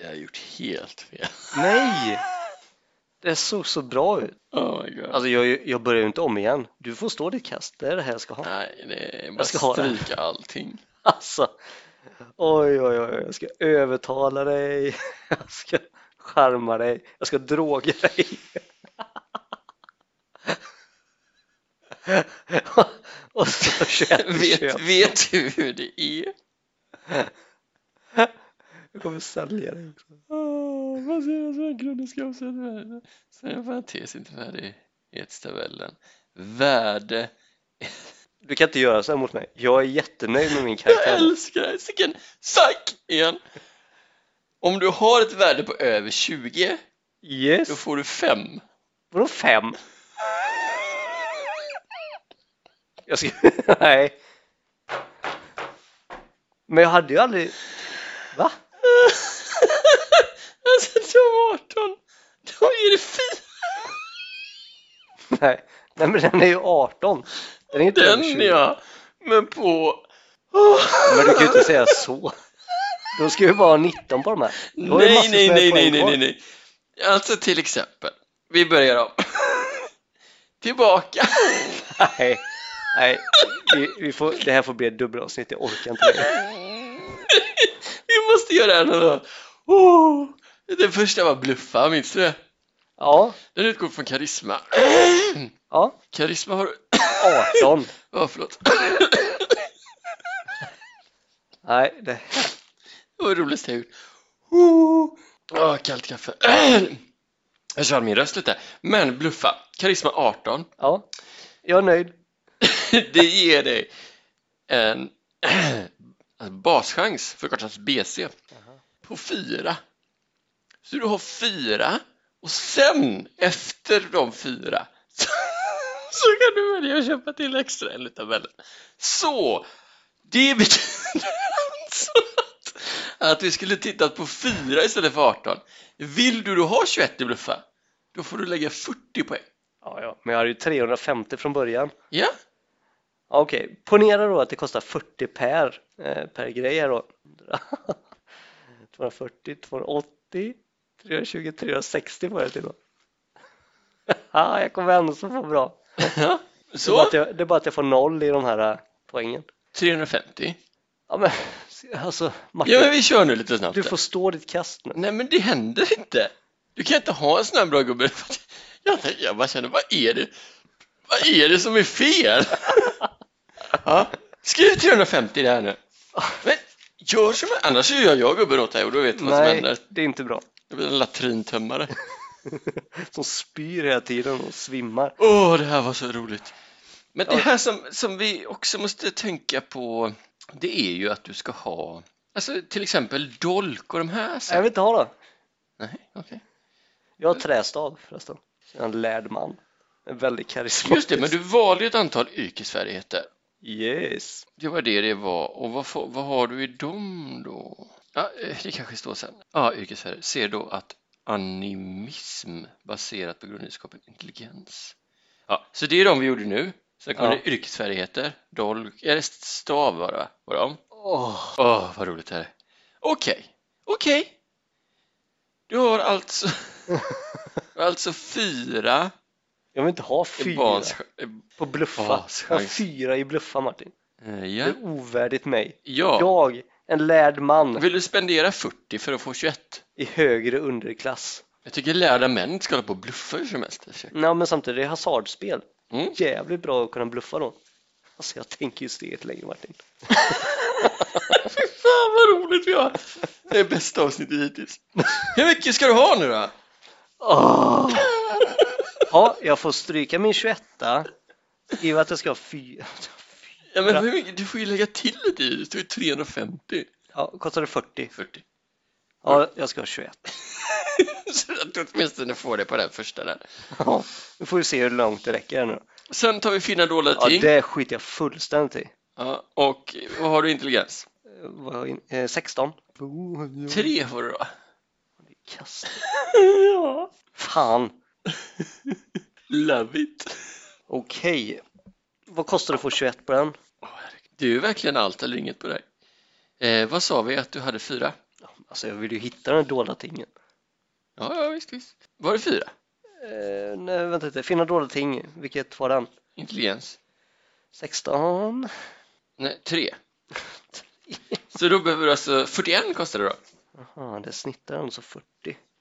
Speaker 1: Jag har gjort helt fel.
Speaker 2: Nej! Det såg så bra ut.
Speaker 1: Oh my god.
Speaker 2: Alltså jag, jag börjar ju inte om igen. Du får stå ditt kast, det är det här jag ska ha.
Speaker 1: Nej, det är bara
Speaker 2: Jag ska ha den.
Speaker 1: stryka (laughs) allting.
Speaker 2: Alltså, oj, oj, oj, jag ska övertala dig, (laughs) jag ska charma dig, jag ska droga dig. (laughs) Och så 21
Speaker 1: (laughs) Vet,
Speaker 2: köp.
Speaker 1: vet du hur det är?
Speaker 2: Jag kommer sälja dig också.
Speaker 1: Åh, vad ser jag som grundkunskapsrätt värde? Sen en parentes inte värdighetstabellen. Värde.
Speaker 2: Du kan inte göra så här mot mig. Jag är jättenöjd med min
Speaker 1: Jag
Speaker 2: karaktär.
Speaker 1: älskar det här. Sicken psyk igen. Om du har ett värde på över 20, då
Speaker 2: Yes.
Speaker 1: får du 5.
Speaker 2: Vadå fem? Jag ska... (laughs) Nej. Men jag hade ju aldrig... Va?
Speaker 1: (laughs) alltså, de 18, då är det 4.
Speaker 2: Nej. Nej men den är ju 18. Den är inte över 20.
Speaker 1: Den ja. Men på...
Speaker 2: Men du kan ju inte säga så. Då ska vi bara ha 19 på de här. Du har ju
Speaker 1: Nej,
Speaker 2: massor
Speaker 1: nej,
Speaker 2: med
Speaker 1: nej, nej,
Speaker 2: poäng
Speaker 1: nej,
Speaker 2: kvar.
Speaker 1: nej, nej. Alltså till exempel, vi börjar om. (laughs) Tillbaka.
Speaker 2: (laughs) Nej. Nej. Vi, vi får... Det här får bli ett dubbelavsnitt, jag orkar inte längre.
Speaker 1: vi måste göra en annan. Oh. Den första var bluffa, minns du det?
Speaker 2: Ja.
Speaker 1: Den utgår från karisma.
Speaker 2: Ja.
Speaker 1: Karisma har...
Speaker 2: 18.
Speaker 1: (laughs) Ja, förlåt.
Speaker 2: Nej, det...
Speaker 1: Det var det roligaste jag gjort. Oh. Åh, kallt kaffe. Jag kör min röst lite. Men bluffa, karisma 18.
Speaker 2: Ja. Jag är nöjd.
Speaker 1: (laughs) Det ger dig en (clears throat) baschans, förkortat BC, på fyra. Så du har fyra och sen efter de fyra (laughs) så, så kan du välja att köpa till extra enligt tabellen. Så det betyder alltså att, (laughs) att vi skulle tittat på fyra istället för 18. Vill du då ha 21 i bluffa, då får du lägga 40 poäng.
Speaker 2: Ja, ja. Men jag hade ju 350 från början.
Speaker 1: Ja,
Speaker 2: Ja, Okej, ponera då att det kostar 40 per, eh, per grej här då. 240, 280, 320, 360 var det till då. (laughs) Haha, jag kommer ändå så få bra. Det är, bara
Speaker 1: så
Speaker 2: att jag, det är bara att jag får noll i de här eh, poängen.
Speaker 1: 350.
Speaker 2: Ja men (laughs) alltså Martin,
Speaker 1: Ja men vi kör nu lite snabbt.
Speaker 2: du får stå ditt kast nu.
Speaker 1: Nej men det händer inte. Du kan inte ha en sån här bra gubbe. (laughs) Jag, tänker- jag bara känner, vad är det? Vad är det som är
Speaker 2: (laughs)
Speaker 1: fel? Ja, skriv 350 i det här nu. Men Gör som jag, annars gör jag gubben åt dig och då vet du vad som
Speaker 2: Nej,
Speaker 1: händer.
Speaker 2: det är inte bra. (laughs)
Speaker 1: Det blir en latrintömmare.
Speaker 2: Som spyr hela tiden och svimmar.
Speaker 1: Åh, det här var så roligt. Men det
Speaker 2: Ja.
Speaker 1: här som, som vi också måste tänka på, det är ju att du ska ha, alltså till exempel dolk och de här.
Speaker 2: Jag
Speaker 1: sakerna.
Speaker 2: vill inte ha det.
Speaker 1: Nej, okej.
Speaker 2: Jag har trästav förresten. Jag är en lärd man. En väldigt karismatisk.
Speaker 1: Just det, men du valde ju ett antal yrkesfärdigheter.
Speaker 2: Yes.
Speaker 1: Det var det det var. Och vad, får- vad har du i dem då? Ja, eh, det kanske står sen. Ja, yrkesfärdighet. Ser då att animism baserat på grundegenskapen intelligens. Ja, så det är de vi gjorde nu. Sen kommer
Speaker 2: Ja.
Speaker 1: det yrkesfärdigheter, dolk, eller stav bara, var de.
Speaker 2: Åh,
Speaker 1: Åh, vad roligt det här är. Okej, okej. Du har alltså, alltså fyra
Speaker 2: (laughs) Jag vill inte ha
Speaker 1: i
Speaker 2: fyra
Speaker 1: barns... eh,
Speaker 2: på bluffa.
Speaker 1: barns
Speaker 2: Jag har
Speaker 1: chans.
Speaker 2: fyra i bluffa Martin.
Speaker 1: eh,
Speaker 2: Det
Speaker 1: Ja.
Speaker 2: är ovärdigt mig.
Speaker 1: ja.
Speaker 2: Jag, en lärd man
Speaker 1: Vill du spendera 40 för att få 21?
Speaker 2: i högre underklass.
Speaker 1: Jag tycker lärda män ska hålla på och bluffa hur som helst. alltså.
Speaker 2: Nej men samtidigt, det är hasardspel.
Speaker 1: Mm.
Speaker 2: Jävligt bra att kunna bluffa då. Alltså jag tänker ju steget längre Martin.
Speaker 1: (laughs) Fy fan vad roligt vi har! Det är bästa avsnittet hittills. Hur mycket ska du ha nu då?
Speaker 2: Åh. Ja, jag får stryka min 21 skriva att jag ska ha fyra.
Speaker 1: (laughs) Ja, men hur mycket? Du får ju lägga till lite i. Det står ju 350.
Speaker 2: Ja, kostar det 40?
Speaker 1: 40.
Speaker 2: Ja, jag ska ha 21.
Speaker 1: (laughs) Så att du åtminstone får det på den första där.
Speaker 2: Ja, nu får vi se hur långt det räcker här nu.
Speaker 1: Sen tar vi fina dåliga
Speaker 2: Ja,
Speaker 1: ting.
Speaker 2: det skiter jag fullständigt i.
Speaker 1: Ja, och vad har du i intelligens?
Speaker 2: Eh, vad har jag in- eh, 16.
Speaker 1: Tre får du då.
Speaker 2: Kast.
Speaker 1: ja.
Speaker 2: Fan,
Speaker 1: Love it.
Speaker 2: okej. Vad kostar det att få 21 på den?
Speaker 1: Åh, herregud. Det är ju verkligen allt eller inget på dig. Eh, vad sa vi att du hade fyra?
Speaker 2: Alltså jag vill ju hitta den dolda tingen.
Speaker 1: Ja, ja visst, visst. Var det fyra?
Speaker 2: Eh, nej, vänta lite. Finna dolda ting. Vilket var den?
Speaker 1: Intelligens?
Speaker 2: 16.
Speaker 1: Nej, tre. Så då behöver du alltså 41 kostar det då?
Speaker 2: Jaha, det snittar den så 40.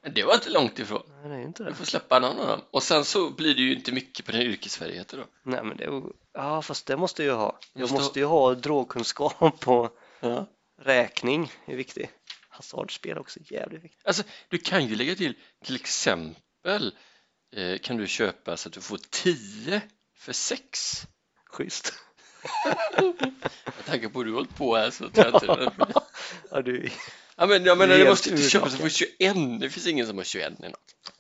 Speaker 1: Men Det var inte långt ifrån.
Speaker 2: Nej, det är ju inte
Speaker 1: Du
Speaker 2: det.
Speaker 1: får släppa någon av dem. Och sen så blir det ju inte mycket på den yrkesfärdigheten då.
Speaker 2: Nej, men det är ju- Ja, fast det måste jag ju ha. Jag
Speaker 1: Måste ha-
Speaker 2: måste ju ha drogkunskap (laughs) på
Speaker 1: Ja.
Speaker 2: räkning. är viktigt. Hasardspel är också jävligt viktigt.
Speaker 1: Alltså, du kan ju lägga till, till exempel eh, kan du köpa så att du får 10 för 6.
Speaker 2: Schysst.
Speaker 1: Med tanke på hur du har hållit på här så tror (laughs) jag inte
Speaker 2: (laughs) Ja, du...
Speaker 1: ja, men, Jag menar, du
Speaker 2: Helt
Speaker 1: måste inte köpa så för
Speaker 2: urlakad.
Speaker 1: 21. Det finns ingen som har 21 än.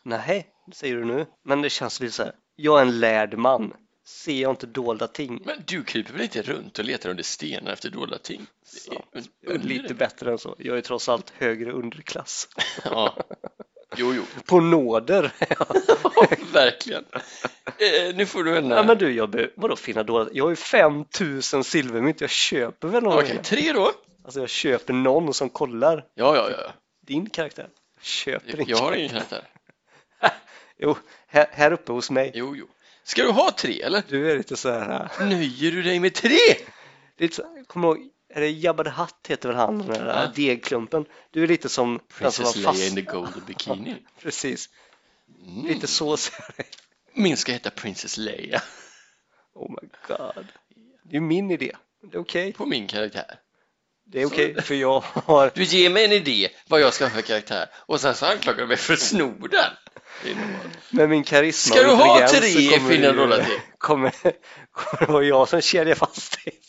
Speaker 2: Nej, det säger du nu. Men det känns lite så här. Jag är en lärd man. Ser jag inte dolda ting?
Speaker 1: Men du kryper väl inte runt och letar under stenar efter dolda ting? Det är
Speaker 2: Jag är
Speaker 1: under-
Speaker 2: lite bättre än så. Jag är trots allt högre underklass. (laughs)
Speaker 1: Ja. Jo, jo. (laughs)
Speaker 2: På nåder.
Speaker 1: Verkligen. Eh, nu får du en...
Speaker 2: Nej, men du, jag be... vadå finna dolda? Jag har ju 5000 silvermynt. Jag köper väl någon?
Speaker 1: eh, Okej, tre då.
Speaker 2: Alltså jag köper någon som kollar.
Speaker 1: Ja, ja, ja.
Speaker 2: din karaktär. Köper
Speaker 1: Jag,
Speaker 2: inte.
Speaker 1: jag har ingen karaktär.
Speaker 2: Jo, här, här uppe hos mig.
Speaker 1: Jo, jo. Ska du ha tre eller?
Speaker 2: Du är lite så här. äh,
Speaker 1: Nöjer du dig med tre?
Speaker 2: Lite så, kommer du ihåg, är det Jabba the Hutt heter väl han, den där
Speaker 1: Ja.
Speaker 2: degklumpen? Du är lite som den som
Speaker 1: Princess
Speaker 2: var
Speaker 1: Leia in
Speaker 2: fast.
Speaker 1: the golden bikini.
Speaker 2: Precis,
Speaker 1: Mm.
Speaker 2: lite så ser det.
Speaker 1: Min ska heta Princess Leia
Speaker 2: Oh my god. Det är min idé. Det är okej.
Speaker 1: på min karaktär.
Speaker 2: Det är
Speaker 1: Så-
Speaker 2: okej för jag har.
Speaker 1: Du ger mig en idé vad jag ska ha för karaktär och sen så anklagar du mig för att sno den. Det är normalt.
Speaker 2: Med min karisma
Speaker 1: Ska
Speaker 2: och
Speaker 1: du ha
Speaker 2: intelligens
Speaker 1: tre
Speaker 2: så kommer
Speaker 1: fina
Speaker 2: du-
Speaker 1: dolda ting?
Speaker 2: (laughs) Kommer, kommer det vara jag som kedjar fast dig?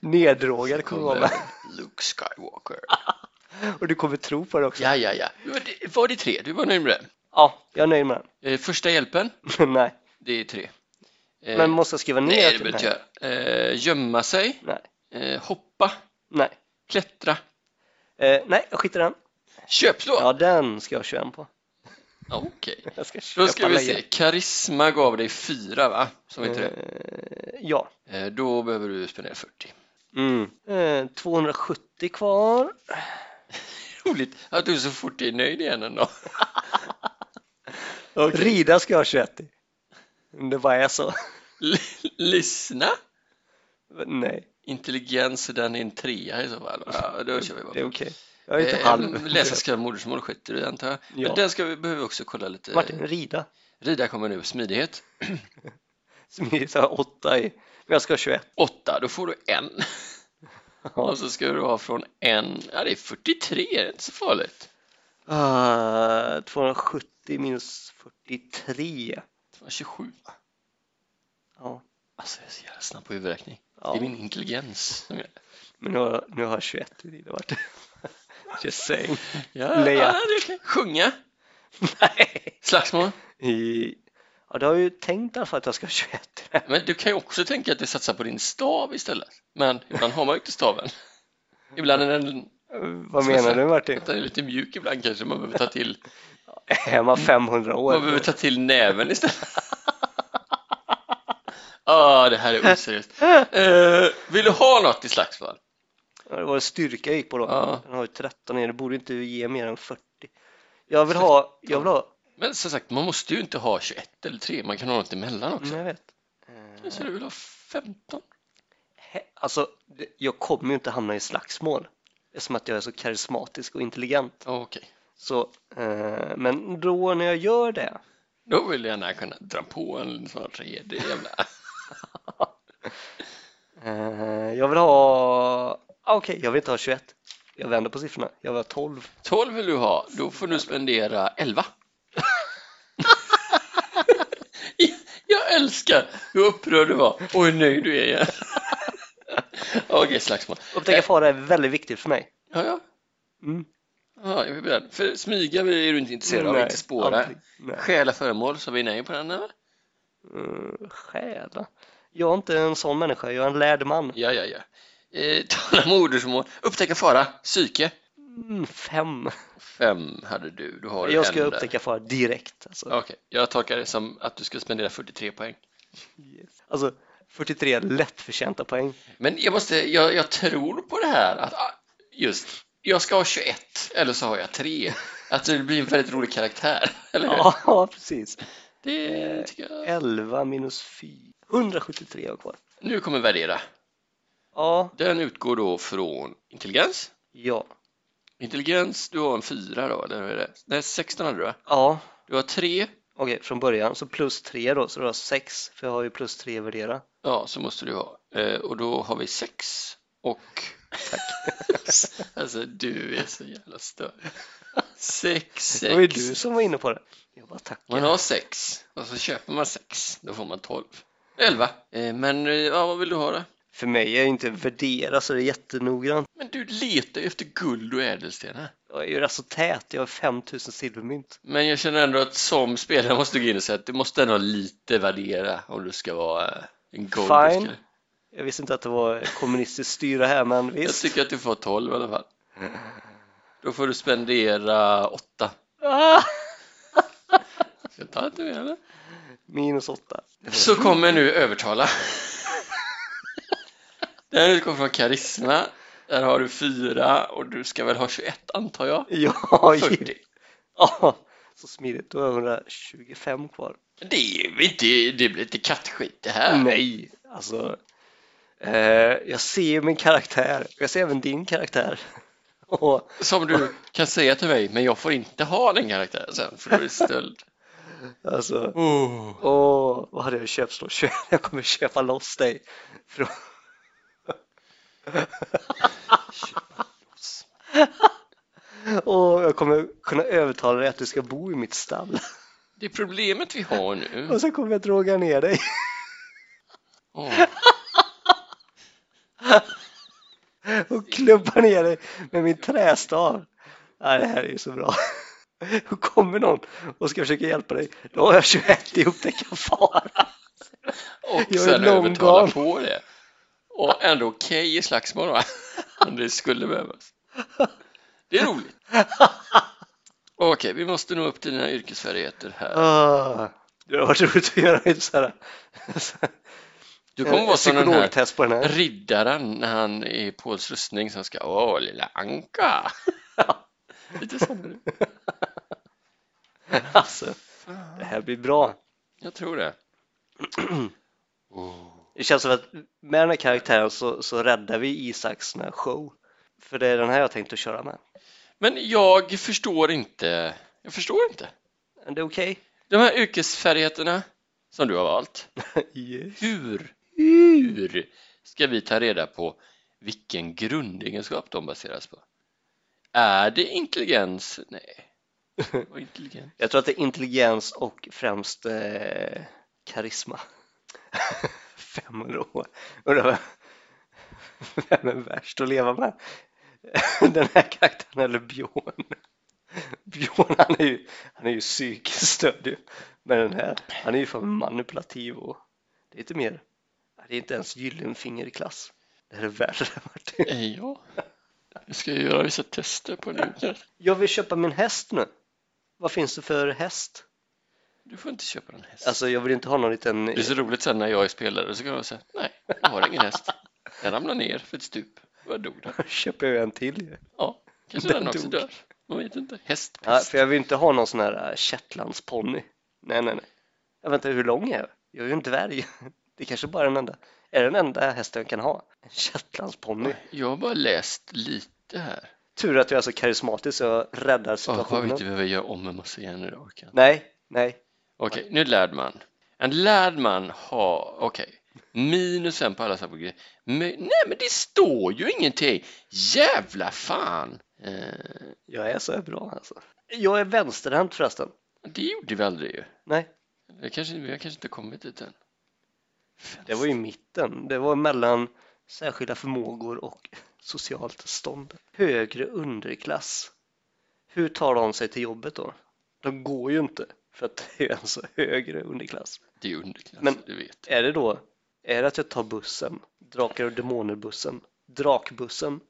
Speaker 2: Neddrogad kommer (laughs) jag vara
Speaker 1: Luke Skywalker.
Speaker 2: med. Och du kommer tro på det också.
Speaker 1: Ja, ja, ja. Men det- Var det tre? Du var nöjd med det.
Speaker 2: Ja, jag är nöjd med den.
Speaker 1: Eh, Första hjälpen,
Speaker 2: Men (laughs) Nej,
Speaker 1: det är tre. Eh,
Speaker 2: men måste jag skriva ner?
Speaker 1: Nej, det
Speaker 2: typ?
Speaker 1: behöver inte göra. Eh, gömma sig,
Speaker 2: Nej,
Speaker 1: eh, hoppa,
Speaker 2: nej.
Speaker 1: klättra,
Speaker 2: Eh, nej, jag skiter i den.
Speaker 1: köpslå.
Speaker 2: Ja, den ska jag ha 21 på. (laughs)
Speaker 1: Okej.
Speaker 2: Jag ska
Speaker 1: Då
Speaker 2: köpa
Speaker 1: ska vi se.
Speaker 2: lejon.
Speaker 1: Karisma gav dig fyra, va? Som inte det.
Speaker 2: Eh, ja.
Speaker 1: Eh, Då behöver du spendera 40.
Speaker 2: Mm. Eh, 270 kvar.
Speaker 1: (laughs) Roligt att du så fort är nöjd igen ändå.
Speaker 2: Rida ska jag ha 21 i. Om Det bara är så. (laughs)
Speaker 1: L- Lyssna.
Speaker 2: Nej,
Speaker 1: Intelligens, den är en trea i så fall. Ja, då kör vi bara.
Speaker 2: det är
Speaker 1: på.
Speaker 2: okej. Jag är inte
Speaker 1: Eh,
Speaker 2: halv.
Speaker 1: Läsa, skriva, modersmål skiter du i, antar jag. Men
Speaker 2: Ja.
Speaker 1: den ska vi, behöver vi också kolla lite.
Speaker 2: (laughs) Martin, rida.
Speaker 1: Rida kommer nu. Smidighet.
Speaker 2: Smidigt har jag 8 i. Men jag ska ha 21.
Speaker 1: Åtta, då får du en. Ja, så ska du ha från en, ja det är 43, det är inte så farligt.
Speaker 2: Ah, 270 minus 43.
Speaker 1: 27.
Speaker 2: Ja,
Speaker 1: Alltså jag är så jävla snabb på huvudräkning. Det
Speaker 2: ja.
Speaker 1: är min intelligens som gör det.
Speaker 2: men nu har, nu har jag 21 i det vart. (laughs) Just saying. (laughs)
Speaker 1: Ja,
Speaker 2: Leia.
Speaker 1: ja, det är okej. Sjunga,
Speaker 2: Nej.
Speaker 1: slagsmål.
Speaker 2: I, ja, du har ju tänkt i alla fall att jag ska ha 21
Speaker 1: Men du kan ju också tänka att du satsar på din stav istället. Men ibland har man ju inte staven. Ibland är den,
Speaker 2: (laughs) Vad
Speaker 1: Ska jag
Speaker 2: menar
Speaker 1: säga?
Speaker 2: du Martin? (laughs)
Speaker 1: den är lite mjuk ibland kanske. Man behöver ta till,
Speaker 2: Är man 500 år?
Speaker 1: man behöver ta till näven
Speaker 2: (laughs)
Speaker 1: istället. Ah, det här är oseriöst.
Speaker 2: (laughs)
Speaker 1: Eh, vill du ha något i slagsmål?
Speaker 2: Ja, det var styrka jag gick på då.
Speaker 1: Ja.
Speaker 2: Den har ju 13 i, det borde inte ge mer än 40. Jag vill ha, jag vill ha,
Speaker 1: Men som sagt, man måste ju inte ha 21 eller 3, man kan ha något emellan också.
Speaker 2: mm, jag vet.
Speaker 1: Men Så du vill ha 15?
Speaker 2: He- Alltså, det- jag kommer ju inte hamna i slagsmål eftersom att jag är så karismatisk och intelligent.
Speaker 1: Ja, Okej,
Speaker 2: Så, eh, men då när jag gör det, (laughs)
Speaker 1: då vill jag gärna kunna dra på en sån här tredje jävla...
Speaker 2: (laughs) eh, jag vill ha, ah, okej, jag vill inte ha 21. Jag vänder på siffrorna, jag vill ha 12.
Speaker 1: 12 vill du ha, då får du spendera 11. (laughs) jag älskar hur upprörd du var och hur nöjd du är
Speaker 2: (laughs)
Speaker 1: igen. Okej, slagsmål.
Speaker 2: Upptäcka fara är väldigt viktigt för mig.
Speaker 1: Ja, ja.
Speaker 2: Mm.
Speaker 1: ja jag är beredd. För smyga är du inte intresserad av,
Speaker 2: Nej,
Speaker 1: inte spåra.
Speaker 2: aldrig. Nej.
Speaker 1: Stjäla föremål, så vi nej på den eller?
Speaker 2: Mm, stjäla. Jag är inte en sån människa, jag är en lärd man.
Speaker 1: Ja, ja, ja. Eh, (laughs) tala med modersmål, upptäcka fara, psyke.
Speaker 2: Mm, fem.
Speaker 1: Fem hade du, du har
Speaker 2: Jag
Speaker 1: en
Speaker 2: ska
Speaker 1: där.
Speaker 2: upptäcka fara direkt. Alltså.
Speaker 1: Okej, jag tolkar det som att du ska spendera 43 poäng.
Speaker 2: Yes. alltså, 43 lättförtjänta poäng.
Speaker 1: Men jag måste, jag, jag tror på det här att ah, just, jag ska ha 21 eller så har jag 3. Att det blir en väldigt rolig karaktär, (laughs) eller hur?
Speaker 2: (laughs) Ja, Eh, precis.
Speaker 1: Det tycker jag.
Speaker 2: 11 minus 4. 173 har kvar.
Speaker 1: Nu kommer värdera.
Speaker 2: Ja,
Speaker 1: Den utgår då från intelligens.
Speaker 2: ja,
Speaker 1: Intelligens, du har en 4 då, eller hur är det? Nej, 16 hade du va?
Speaker 2: ja.
Speaker 1: Du har 3,
Speaker 2: Okej, från början så plus 3 då, så då har jag 6 för jag har ju plus 3 värdera.
Speaker 1: ja så måste du ha. Eh, och då har vi 6 och... (laughs) alltså du är så jävla störd. 6, 6.
Speaker 2: Det var ju du som var inne på det. Jag bara tack.
Speaker 1: Man har sex och så köper man sex, då får man 12. 11. Eh, Men eh, ja, vad vill du ha då?
Speaker 2: För mig är ju inte värdera så det är jättenoggrant.
Speaker 1: Men du letar ju efter guld och ädelstenar.
Speaker 2: Jag är ju rätt så tät, jag har 5000 silvermynt.
Speaker 1: Men jag känner ändå att som spelare måste du gå in och säga att du måste ändå lite värdera om du ska vara eh, en
Speaker 2: Fine.
Speaker 1: goldfiskare.
Speaker 2: Jag visste inte att det var kommunistiskt styre här, men
Speaker 1: Jag
Speaker 2: visst.
Speaker 1: tycker att du får 12 i alla fall. Då får du spendera 8.
Speaker 2: Ah!
Speaker 1: Ska jag ta inte mer eller?
Speaker 2: Minus 8.
Speaker 1: Så kommer nu övertala. Den utgår från karisma. Där har du 4 och du ska väl ha 21 antar jag.
Speaker 2: Ja, ju-
Speaker 1: 40.
Speaker 2: ja, så smidigt. Då har jag 125 kvar.
Speaker 1: Det är ju inte, det blir inte kattskit det här.
Speaker 2: Nej, alltså. Eh, jag ser ju min karaktär. Jag ser även din karaktär. (laughs) Och,
Speaker 1: Som du kan säga till mig, men jag får inte ha den karaktären sen för då är det stöld.
Speaker 2: alltså,
Speaker 1: Oh.
Speaker 2: åh, vad hade jag köpt då? (laughs) Kö- Jag kommer köpa loss dig. Från... Och jag kommer kunna övertala dig att du ska bo i mitt stall. (laughs)
Speaker 1: Det problemet vi har nu.
Speaker 2: Och sen kommer jag droga ner dig.
Speaker 1: Åh,
Speaker 2: och klubbar ner dig med min trästav. Nej, det här är ju så bra. Då kommer någon och ska försöka hjälpa dig. Då har jag 21 i upptäcka fara.
Speaker 1: Och
Speaker 2: Jag är
Speaker 1: sen
Speaker 2: långgal.
Speaker 1: övertala på det. Och ändå okej i slagsmål va? (laughs) Om det skulle behövas. Det är roligt. Okej, vi måste nå upp till dina yrkesfärdigheter här.
Speaker 2: Ah, det har varit roligt att göra ett så här.
Speaker 1: Du kommer vara som den här
Speaker 2: psykologtest på den här.
Speaker 1: riddaren när han är i Pauls rustning som ska, åh lilla anka. (laughs) Lite sån är du.
Speaker 2: Alltså, det här blir bra.
Speaker 1: Jag tror det.
Speaker 2: Det känns som att med den här karaktären så, så räddar vi Isaks sån här show. För det är den här jag tänkte köra med.
Speaker 1: Men jag förstår inte. Jag förstår inte.
Speaker 2: Är det okej?
Speaker 1: De här yrkesfärdigheterna som du har valt.
Speaker 2: Yes.
Speaker 1: Hur, hur ska vi ta reda på vilken grundegenskap de baseras på. Är det intelligens? Nej. Vad intelligens?
Speaker 2: (laughs) Jag tror att det är intelligens och främst eh, karisma. (laughs) Fem år. Undrar vem- (laughs) vem är värst att leva med? (laughs) Den här karaktären eller Björn? (laughs) Björn han är ju, han är ju psykiskt störd ju. Men den här, han är ju fan manipulativ och det är inte mer, det är inte ens Gyllenfinger-klass. Det här är värre Martin.
Speaker 1: Är jag? Eh, Jag ska ju göra vissa tester på det.
Speaker 2: Jag vill köpa min häst nu. Vad finns det för häst?
Speaker 1: Du får inte köpa en häst.
Speaker 2: Alltså jag vill inte ha någon liten...
Speaker 1: Det är så roligt sen när jag är spelare så kan jag säga nej, jag har ingen häst. Den ramlar ner för ett stup. Vad dog den?
Speaker 2: (laughs) köper jag en till ju.
Speaker 1: Ja, kanske
Speaker 2: Den
Speaker 1: den, också
Speaker 2: dog.
Speaker 1: dör. Man vet inte. Hästpest.
Speaker 2: Ja, för jag vill inte ha någon sån här äh, shetlandsponny. Nej, nej, nej. Jag väntar, hur lång är jag? Jag är ju en dvärg. (laughs) Det är kanske bara den enda. Är det den enda hästen jag kan ha? En shetlandsponny.
Speaker 1: Jag har bara läst lite här.
Speaker 2: Tur att jag är så karismatisk så jag räddar
Speaker 1: Oh, vad vi
Speaker 2: situationen.
Speaker 1: inte behöver göra om en massa igen idag. Kan.
Speaker 2: nej, nej.
Speaker 1: Okej, nu lärd man. En lärd man har, okej, minus en på alla sådana grejer. Men, nej, men det står ju ingenting. Jävla fan. Eh,
Speaker 2: Jag är så här bra alltså. Jag är vänsterhänt förresten.
Speaker 1: det gjorde vi aldrig ju.
Speaker 2: Nej,
Speaker 1: Jag kanske, vi har kanske inte kommit dit än.
Speaker 2: det var ju mitten. Det var mellan särskilda förmågor och socialt stånd. Högre underklass. Hur tar de sig till jobbet då? De går ju inte för att det är en så högre underklass.
Speaker 1: Det är underklass,
Speaker 2: Men-
Speaker 1: du vet.
Speaker 2: Är det då, är det att jag tar bussen? Drakar och demoner-bussen? Drakbussen?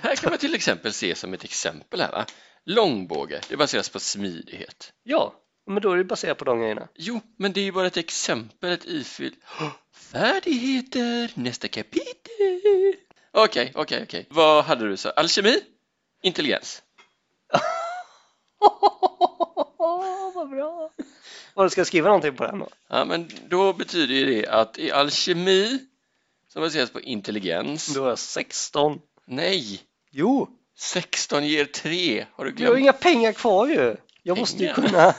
Speaker 1: Här kan man till exempel se som ett exempel här va? Långbåge, det baseras på smidighet.
Speaker 2: Ja, men då är det baserat på de grejerna.
Speaker 1: Jo, men det är ju bara ett exempel, ett ifyll. Färdigheter, nästa kapitel. Okej, okej, okej. Vad hade du så? Alkemi? Intelligens?
Speaker 2: (laughs) Vad bra! Och ska jag skriva någonting på den då?
Speaker 1: Ja, men då betyder ju det att i alkemi som baseras på intelligens.
Speaker 2: Då har jag 16.
Speaker 1: Nej,
Speaker 2: Jo,
Speaker 1: 16 ger 3. Har du
Speaker 2: jag har
Speaker 1: glömt?
Speaker 2: inga pengar kvar ju. Jag måste ju
Speaker 1: Pengar?
Speaker 2: kunna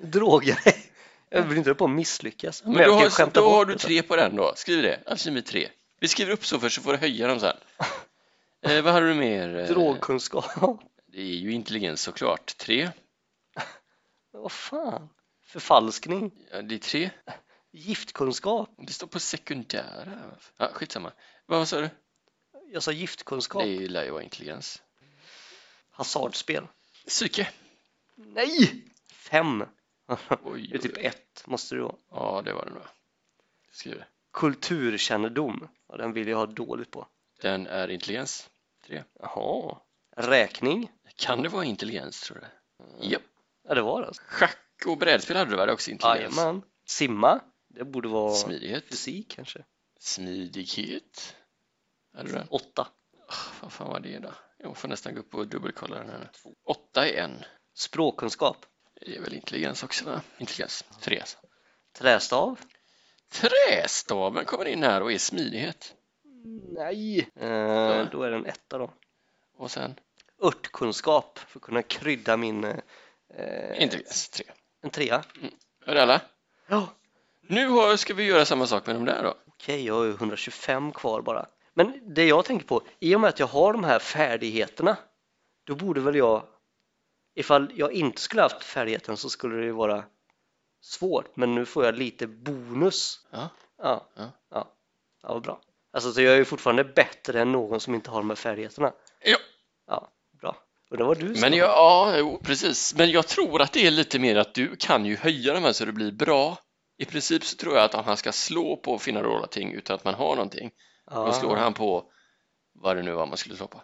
Speaker 2: (laughs) droga dig. Jag vill inte på att misslyckas. Men,
Speaker 1: Men
Speaker 2: jag
Speaker 1: då
Speaker 2: kan ju
Speaker 1: har,
Speaker 2: skämta
Speaker 1: då
Speaker 2: bort
Speaker 1: har du
Speaker 2: det.
Speaker 1: tre på den då. Skriv det. Alkemi 3. Vi skriver upp så först så får du höja dem
Speaker 2: (laughs)
Speaker 1: sen. Eh, vad hade du mer? Eh,
Speaker 2: Drogkunskap. (laughs)
Speaker 1: Det är ju intelligens såklart. 3.
Speaker 2: Vad fan? Förfalskning.
Speaker 1: Ja, det är 3.
Speaker 2: Giftkunskap.
Speaker 1: Det står på sekundära. Ja, skitsamma. Vad vad sa du?
Speaker 2: Jag sa giftkunskap.
Speaker 1: Det lär ju vara intelligens.
Speaker 2: Hasardspel.
Speaker 1: Psyke.
Speaker 2: Nej! Fem.
Speaker 1: Oj,
Speaker 2: Det är typ
Speaker 1: oj.
Speaker 2: ett måste du ha.
Speaker 1: Ja, det var det nog. Skriv det.
Speaker 2: Kulturkännedom. Ja, den vill jag ha dåligt på.
Speaker 1: Den är intelligens. 3.
Speaker 2: Jaha. Räkning.
Speaker 1: Kan det vara intelligens tror du? Japp.
Speaker 2: Ja, det var det. alltså.
Speaker 1: Schack och brädspel hade du väl också intelligens?
Speaker 2: Jajamän. Simma. Det borde vara
Speaker 1: Smidighet.
Speaker 2: fysik kanske.
Speaker 1: Smidighet. Hade du det?
Speaker 2: Åtta.
Speaker 1: Ah, Vad fan var det då? Jag får nästan gå upp och dubbelkolla den här. Åtta är en.
Speaker 2: Språkkunskap.
Speaker 1: Det är väl intelligens också va? Intelligens. Tre. alltså.
Speaker 2: Trästav.
Speaker 1: Trästaven kommer in här och är smidighet.
Speaker 2: Nej. Eh, Då är den etta då.
Speaker 1: Och sen
Speaker 2: Örtkunskap för att kunna krydda min... Eh,
Speaker 1: intelligens. Tre.
Speaker 2: En trea.
Speaker 1: Är det alla?
Speaker 2: Ja.
Speaker 1: Nu har, ska vi göra samma sak med de där då.
Speaker 2: Okej, jag har ju 125 kvar bara. Men det jag tänker på, i och med att jag har de här färdigheterna, då borde väl jag, ifall jag inte skulle haft färdigheten så skulle det ju vara svårt, men nu får jag lite bonus.
Speaker 1: Ja.
Speaker 2: Ja,
Speaker 1: Ja.
Speaker 2: ja, ja. vad bra. Alltså, så jag är ju fortfarande bättre än någon som inte har de här färdigheterna.
Speaker 1: Ja.
Speaker 2: Ja, bra. Undrar vad du
Speaker 1: Men
Speaker 2: sa.
Speaker 1: jag, ja, jo, precis. Men jag tror att det är lite mer att du kan ju höja de här så det blir bra. I princip så tror jag att om han ska slå på att finna några ting utan att man har någonting,
Speaker 2: ja.
Speaker 1: då slår han på vad det nu var man skulle slå på.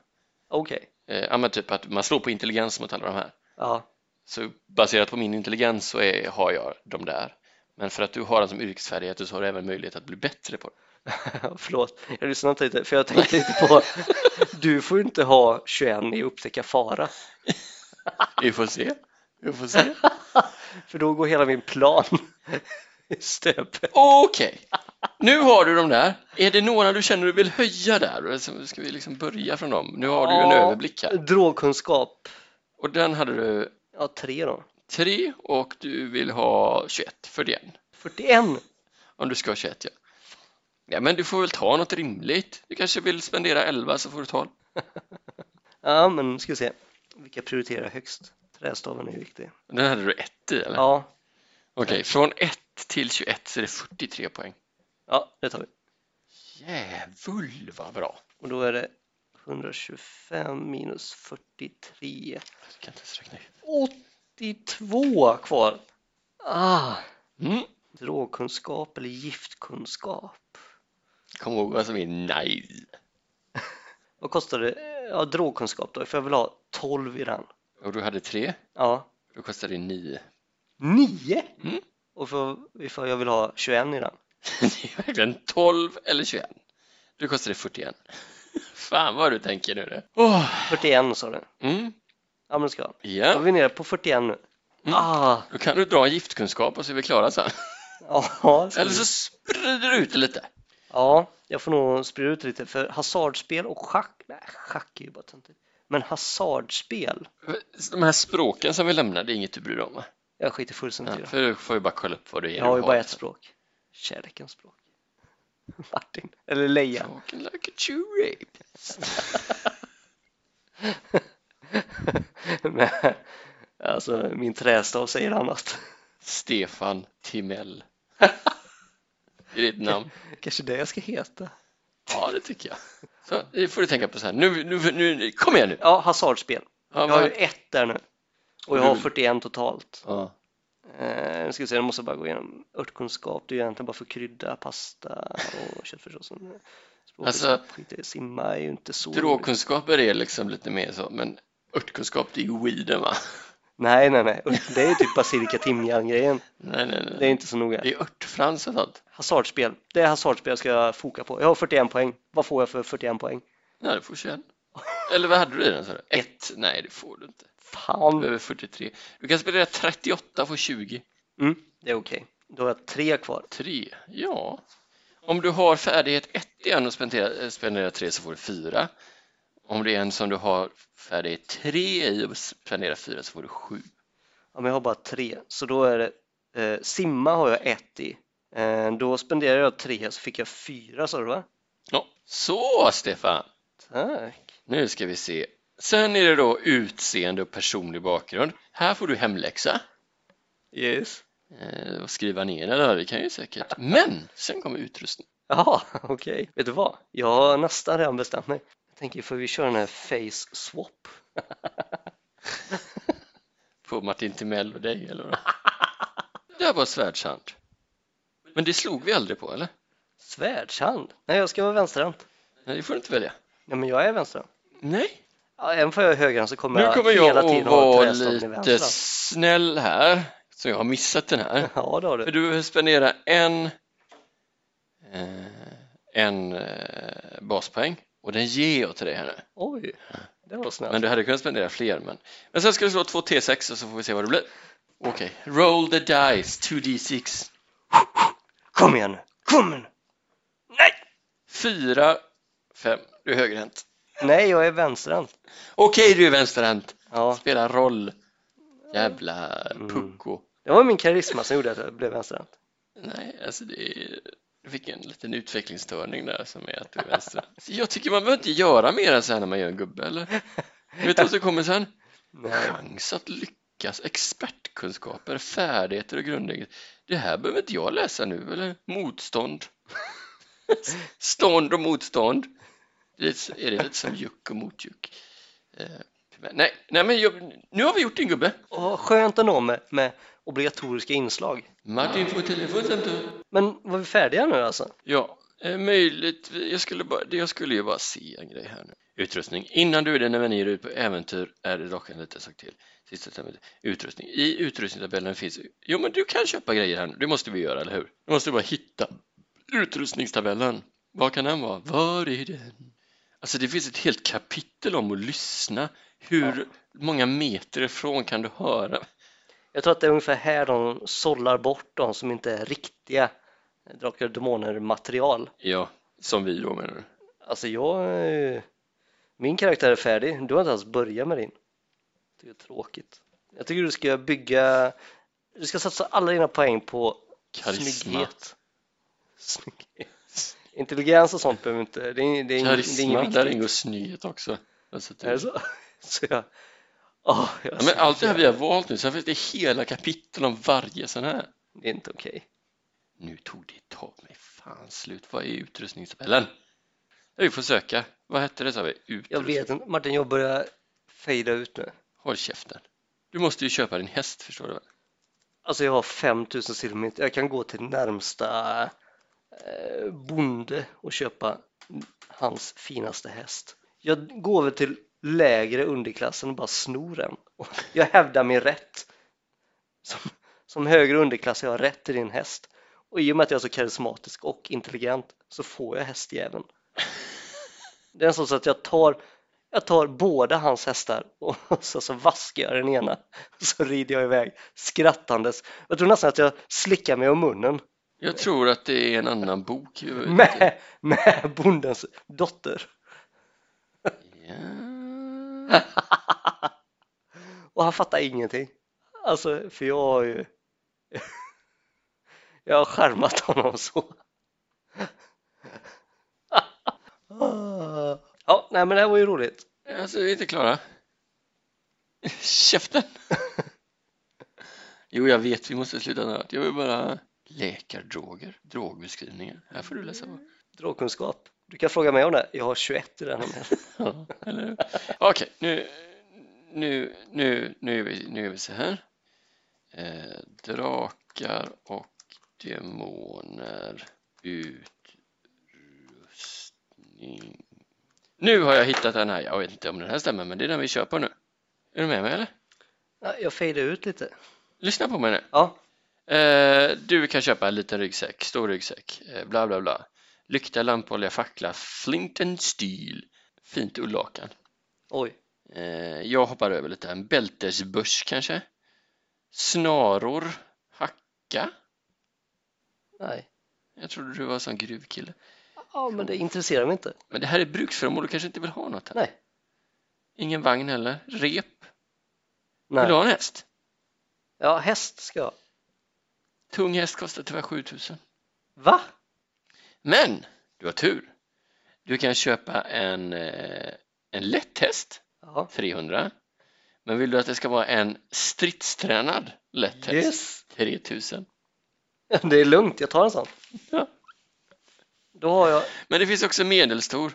Speaker 2: Okej,
Speaker 1: Eh, ja, men typ att man slår på intelligens mot alla de här.
Speaker 2: ja,
Speaker 1: Så baserat på min intelligens så är, har jag de där. Men för att du har den som yrkesfärdighet så har du även möjlighet att bli bättre på det.
Speaker 2: (laughs) förlåt. Jag lyssnade inte riktigt, för jag tänkte inte
Speaker 1: (laughs)
Speaker 2: på, du får ju inte ha 21 i upptäcka fara.
Speaker 1: Vi får se. Vi får se.
Speaker 2: För då går hela min plan (laughs) i stöpet.
Speaker 1: Okej, nu har du de där. Är det några du känner du vill höja där? Eller så Ska vi liksom börja från dem? Nu har du ju en
Speaker 2: Ja.
Speaker 1: överblick här.
Speaker 2: Drogkunskap,
Speaker 1: Och den hade du
Speaker 2: ja tre då.
Speaker 1: 3 och du vill ha 21 för den.
Speaker 2: 41!
Speaker 1: Om du ska ha 21 ja. Ja, men du får väl ta något rimligt. Du kanske vill spendera 11 så får du 12.
Speaker 2: Ja, men ska vi se. Vilka prioriterar högst? Trästaven är ju viktig.
Speaker 1: Den hade du 1 i eller?
Speaker 2: Ja,
Speaker 1: Okej, från 1 till 21 så är det 43 poäng.
Speaker 2: ja, det tar vi.
Speaker 1: Jävul vad bra!
Speaker 2: Och då är det 125 minus 43.
Speaker 1: Jag kan inte ens räkna ut.
Speaker 2: 82 kvar. Ah,
Speaker 1: Mm.
Speaker 2: drogkunskap eller giftkunskap?
Speaker 1: Kom ihåg vad som är nej.
Speaker 2: Vad kostar det? Ja, drogkunskap då, för jag vill ha 12 i den.
Speaker 1: Och du hade 3,
Speaker 2: Ja,
Speaker 1: då kostar det 9.
Speaker 2: 9!
Speaker 1: Mm.
Speaker 2: Och för, ifall jag vill ha 21 i den.
Speaker 1: (laughs) Det är verkligen 12 eller 21. Då kostar det 41. (laughs) Fan vad du tänker nu du. Åh.
Speaker 2: 41 sa du?
Speaker 1: Mm.
Speaker 2: Ja, men det ska jag. Då är
Speaker 1: Ja. Mm.
Speaker 2: vi nere på 41 nu. Ah,
Speaker 1: Då kan du dra en giftkunskap och så är vi klara
Speaker 2: (laughs)
Speaker 1: sen.
Speaker 2: ja, det ska
Speaker 1: Eller
Speaker 2: vi.
Speaker 1: så sprider du ut det lite.
Speaker 2: ja, jag får nog sprida ut lite för hasardspel och schack. Nej, schack är ju bara töntigt. Men hasardspel,
Speaker 1: De här språken som vi lämnar, det är inget du bryr dig om va?
Speaker 2: jag skiter fullständigt i
Speaker 1: Ja,
Speaker 2: det.
Speaker 1: för du får ju bara kolla upp vad det är
Speaker 2: Jag har
Speaker 1: du
Speaker 2: ju bara ett språk. Kärlekens språk. (laughs) Martin, eller Leia.
Speaker 1: Talking like a Jew rape.
Speaker 2: (laughs) Men, alltså, min trästav säger annat.
Speaker 1: Stefan (laughs) Timell. Det är ditt namn.
Speaker 2: Kanske det jag ska heta.
Speaker 1: Ja, det tycker jag. Så, det får du tänka på så här. Nu, nu, nu, kom igen nu!
Speaker 2: Ja, hasardspel.
Speaker 1: Ja,
Speaker 2: Jag har ju
Speaker 1: va?
Speaker 2: ett där nu. Och jag
Speaker 1: Du-
Speaker 2: har 41 totalt.
Speaker 1: ja.
Speaker 2: Eh, nu ska vi se, jag måste bara gå igenom. Örtkunskap, det är ju egentligen bara för krydda, pasta och (laughs) köttfärssås. Språket
Speaker 1: Alltså-
Speaker 2: skit i, simma är ju inte så roligt.
Speaker 1: Drogkunskaper är liksom lite mer så, men örtkunskap det är ju weeden va?
Speaker 2: Nej, nej, nej. Ört- Det är ju typ basilika timjan-grejen.
Speaker 1: Nej, nej,
Speaker 2: Det är
Speaker 1: nej.
Speaker 2: inte så noga.
Speaker 1: Det är örtfrans och sånt.
Speaker 2: Hasardspel. Det är hasardspel jag ska foka på. Jag har 41 poäng. Vad får jag för 41 poäng?
Speaker 1: Nej, du får 21. Eller vad hade du i den sa du? Ett? Nej, det får du inte. Du
Speaker 2: Fan,
Speaker 1: behöver 43. Du kan spela 38 för 20.
Speaker 2: Mm, det är okej. Då har jag tre kvar.
Speaker 1: 3, ja. Om du har färdighet 1 i en och spenderar- eh, spenderar 3 så får du 4. Om det är en som du har färdighet 3 i och spenderar 4 så får du 7.
Speaker 2: Ja, men jag har bara tre, så då är det eh, simma har jag ett i. Eh, då spenderade jag tre, så fick jag fyra sa du va?
Speaker 1: Ja. Så Stefan,
Speaker 2: Tack.
Speaker 1: nu ska vi se. Sen är det då utseende och personlig bakgrund. Här får du hemläxa
Speaker 2: Yes.
Speaker 1: eh, och skriva ner den där, det kan ju säkert. Men sen kommer utrustning.
Speaker 2: Jaha, (laughs) okej. Vet du vad? Jag har nästan redan bestämt mig. Jag tänker, får vi köra den här face swap?
Speaker 1: På Martin Timell och dig eller vad? Där var svärdshand. Men det slog vi aldrig på eller?
Speaker 2: Svärdshand? Nej, jag ska vara vänsterhänt.
Speaker 1: Nej, det får du inte välja.
Speaker 2: Nej, men jag är vänsterhänt.
Speaker 1: Nej.
Speaker 2: Ja, även om jag är högerhänt så kommer,
Speaker 1: Nu kommer
Speaker 2: jag hela
Speaker 1: jag
Speaker 2: tiden
Speaker 1: att
Speaker 2: ha
Speaker 1: vara
Speaker 2: trästaven i
Speaker 1: lite
Speaker 2: vänstra.
Speaker 1: snäll här, så jag har missat den här.
Speaker 2: (laughs) Ja, det har
Speaker 1: För
Speaker 2: du.
Speaker 1: du behöver spendera en, eh, en eh, baspoäng och den ger jag till dig här nu.
Speaker 2: Oj, det var
Speaker 1: Men
Speaker 2: snällt.
Speaker 1: du hade kunnat spendera fler. Men, men sen ska du slå två T6 och så får vi se vad det blir. Okej, roll the dice, 2D6.
Speaker 2: Kom igen nu! Kom igen nu! Nej!
Speaker 1: 4, 5, du är högerhänt.
Speaker 2: Nej, jag är vänsterhänt.
Speaker 1: Okej, du är vänsterhänt.
Speaker 2: Ja, Mm.
Speaker 1: Spelar roll. Jävla pucko.
Speaker 2: det var min karisma som gjorde att jag blev vänsterhänt.
Speaker 1: Nej, alltså det är... Du fick en liten utvecklingsstörning där som är att du är vänster. Så jag tycker man behöver inte göra mer än så här när man gör en gubbe, eller? Du vet vad som kommer sen?
Speaker 2: Nej.
Speaker 1: Chans att lyckas, expertkunskaper, färdigheter och grundläggande. Det här behöver inte jag läsa nu, eller? Motstånd. Stånd och motstånd. Det är så- är det lite som juck och motjuck. Eh, Men, nej, nej, men jag, nu har vi gjort din gubbe.
Speaker 2: Och skönt ändå med, med obligatoriska inslag.
Speaker 1: Martin får telefonsamtal.
Speaker 2: Men var vi färdiga nu alltså?
Speaker 1: Ja, eh, möjligt. Jag skulle, bara, jag skulle ju bara se en grej här nu. Utrustning. Innan du och dina vänner ger ut på äventyr är det dock en liten sak till. Sista termen. Utrustning. I utrustningstabellen finns... Jo, men du kan köpa grejer här nu. Det måste vi göra, eller hur? Du måste bara hitta utrustningstabellen. Vad kan den vara? Var är den? Alltså, det finns ett helt kapitel om att lyssna. Hur många meter ifrån kan du höra?
Speaker 2: Jag tror att det är ungefär här de sållar bort de som inte är riktiga Drakar och Demoner-material.
Speaker 1: Ja, som vi då menar du?
Speaker 2: Alltså jag... är- Min karaktär är färdig, du har inte ens börjat med din. Det är tråkigt. Jag tycker du ska bygga... Du ska satsa alla dina poäng på
Speaker 1: Karisma.
Speaker 2: snygghet. Snygghet. Intelligens och sånt behöver vi inte, det är, det är, ing- det är
Speaker 1: Karisma,
Speaker 2: inget
Speaker 1: där
Speaker 2: viktigt.
Speaker 1: ingår snyghet också. Alltså, typ.
Speaker 2: Är det så? (laughs) Så jag, åh, jag
Speaker 1: ja, men allt det här vi har valt nu, sen finns det hela kapitel om varje sån här.
Speaker 2: det är inte okej.
Speaker 1: Nu tog det ta mig fan slut. Vad är utrustningstabellen? Ja, Vi får söka. Vad hette det sa vi?
Speaker 2: Jag
Speaker 1: Utrustning.
Speaker 2: vet inte, Martin jag börjar fejda ut nu.
Speaker 1: Håll käften. Du måste ju köpa din häst förstår du väl?
Speaker 2: Alltså jag har 5000 silvermynt, jag kan gå till närmsta eh, bonde och köpa hans finaste häst. Jag går väl till lägre underklassen och bara snor den. (laughs) Och Jag hävdar min rätt. Som, som högre underklass har jag rätt till din häst. Och i och med att jag är så karismatisk och intelligent så får jag hästjäveln. Det är så så att jag tar, jag tar båda hans hästar och (laughs) så, så vaskar jag den ena. (laughs) Så rider jag iväg skrattandes. Jag tror nästan att jag slickar mig om munnen
Speaker 1: Jag tror att det är en annan bok. vi var ute efter.
Speaker 2: med, (laughs) med bondens dotter.
Speaker 1: Ja.
Speaker 2: Och han fattar ingenting. Alltså, för jag har ju... (laughs) Jag har skärmat honom så. (laughs) Ja, nej men det här var ju roligt.
Speaker 1: Alltså, vi är inte klara. Käften! Jo, jag vet, vi måste sluta snart. Jag vill bara... Läkardroger, drogbeskrivningar. Här får du läsa på.
Speaker 2: Drogkunskap. Du kan fråga mig om det. Jag har 21 i den här. med.
Speaker 1: Ja, eller hur? Okej, nu, nu, nu, nu, är vi, nu är vi så här. Eh, drakar och demoner, utrustning. Nu har jag hittat den här. Jag vet inte om den här stämmer, men det är den vi kör på nu. Är du med mig eller?
Speaker 2: Ja, Jag fejdar ut lite.
Speaker 1: Lyssna på mig nu.
Speaker 2: Ja,
Speaker 1: Eh, du kan köpa en liten ryggsäck, stor ryggsäck, eh, bla bla bla. Lykta, lampolja, fackla, flint and steel. Fint ullakan.
Speaker 2: oj.
Speaker 1: Eh, jag hoppar över lite. En bältesbörs kanske? Snaror? Hacka?
Speaker 2: Nej.
Speaker 1: Jag trodde du var en sån gruvkille.
Speaker 2: Ja, men det intresserar mig inte.
Speaker 1: Men det här är bruksföremål, du kanske inte vill ha något här?
Speaker 2: Nej.
Speaker 1: Ingen vagn heller? Rep? Vill du
Speaker 2: Nej.
Speaker 1: ha en häst?
Speaker 2: Ja, häst ska jag.
Speaker 1: Tung häst kostar tyvärr 7000.
Speaker 2: Va?
Speaker 1: Men! Du har tur. Du kan köpa en, eh, en lätt häst,
Speaker 2: Ja.
Speaker 1: 300. Men vill du att det ska vara en stridstränad lätt häst,
Speaker 2: Yes. (laughs)
Speaker 1: 3000.
Speaker 2: Det är lugnt, jag tar en sån.
Speaker 1: Ja.
Speaker 2: Då har jag...
Speaker 1: Men det finns också medelstor,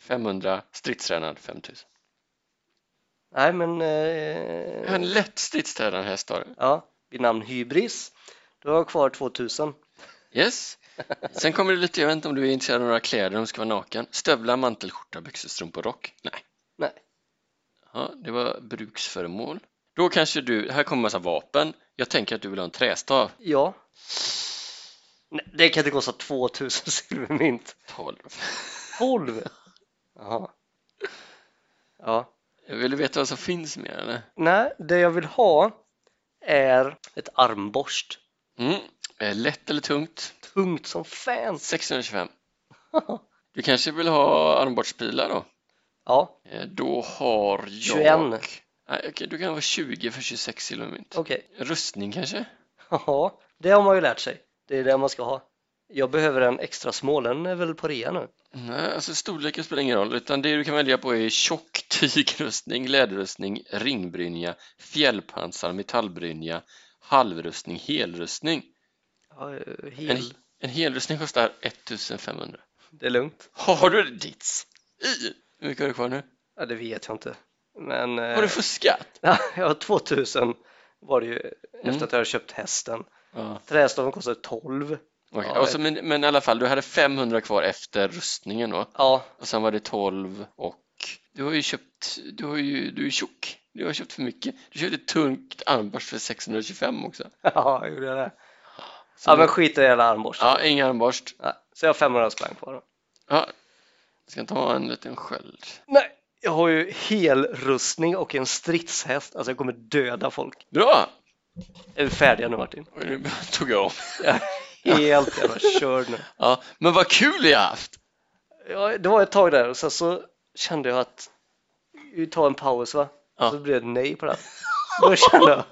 Speaker 1: 500, stridstränad, 5000.
Speaker 2: Nej, men... Eh...
Speaker 1: En lätt stridstränad häst har du.
Speaker 2: Ja, vid namn Hybris. Då har jag kvar (laughs) 2000.
Speaker 1: Yes. Sen kommer det lite, jag vet inte om du är intresserad av några kläder, om du ska vara naken. Stövlar, mantel, skjorta, byxor, strumpor, rock? Nej.
Speaker 2: Nej.
Speaker 1: Ja, det var bruksföremål. Då kanske du, här kommer massa vapen. Jag tänker att du vill ha en trästav.
Speaker 2: Ja. Nej, det kan inte kosta 2000 (laughs) silvermynt.
Speaker 1: 12.
Speaker 2: 12! Jaha. Ja.
Speaker 1: Vill du veta vad som finns mer eller?
Speaker 2: Nej, det jag vill ha är ett armborst.
Speaker 1: Mm. Eh, Lätt eller tungt?
Speaker 2: Tungt som fans. (laughs)
Speaker 1: 625. Du kanske vill ha armborstpilar då?
Speaker 2: Ja,
Speaker 1: Eh, Då har jag...
Speaker 2: 21.
Speaker 1: Nej, okej, du kan vara 20 för 26 silvermynt.
Speaker 2: Okej. (laughs)
Speaker 1: Rustning kanske?
Speaker 2: Ja, det har man ju lärt sig. Det är det man ska ha. Jag behöver en extra small, den är väl på rea nu?
Speaker 1: Nej, alltså storleken spelar ingen roll, utan det du kan välja på är tjock tygrustning, läderrustning, ringbrynja, fjällpansar, metallbrynja, halvrustning, helrustning.
Speaker 2: Ja, eh,
Speaker 1: En,
Speaker 2: hel.
Speaker 1: en helrustning kostar 1500.
Speaker 2: Det är lugnt.
Speaker 1: Har du ditt i? Hur mycket har du kvar nu?
Speaker 2: Ja, det vet jag inte. Men... eh,
Speaker 1: Har du fuskat?
Speaker 2: Ja, (laughs) ja, 2000 var det ju efter
Speaker 1: Mm.
Speaker 2: att jag hade köpt hästen.
Speaker 1: Ja.
Speaker 2: Trästaven kostade 12.
Speaker 1: Okej,
Speaker 2: Ja,
Speaker 1: och så, men, men i alla fall, du hade 500 kvar efter rustningen då,
Speaker 2: Ja,
Speaker 1: och sen var det 12 och du har ju köpt, du har ju, du är tjock, du har köpt för mycket. Du köpte ett tungt armborst för 625 också.
Speaker 2: (laughs) ja, jag gjorde jag det.
Speaker 1: Så
Speaker 2: Ja,
Speaker 1: nu-
Speaker 2: men skit i hela armborsten.
Speaker 1: Ja, ingen armborst.
Speaker 2: Nej, Så jag har 500 spänn kvar då.
Speaker 1: Ja. Jag ska ta en liten sköld.
Speaker 2: Nej, jag har ju helrustning och en stridshäst. Alltså jag kommer döda folk.
Speaker 1: Bra!
Speaker 2: Är vi färdiga nu Martin?
Speaker 1: Oj, Nu (laughs) tog jag om.
Speaker 2: Jag är (laughs) helt jävla körd nu.
Speaker 1: Ja, men vad kul jag haft!
Speaker 2: Ja, det var ett tag där och sen så kände jag att vi tar en paus va?
Speaker 1: Ja.
Speaker 2: Så blev det ett nej på det. här. Då kände jag,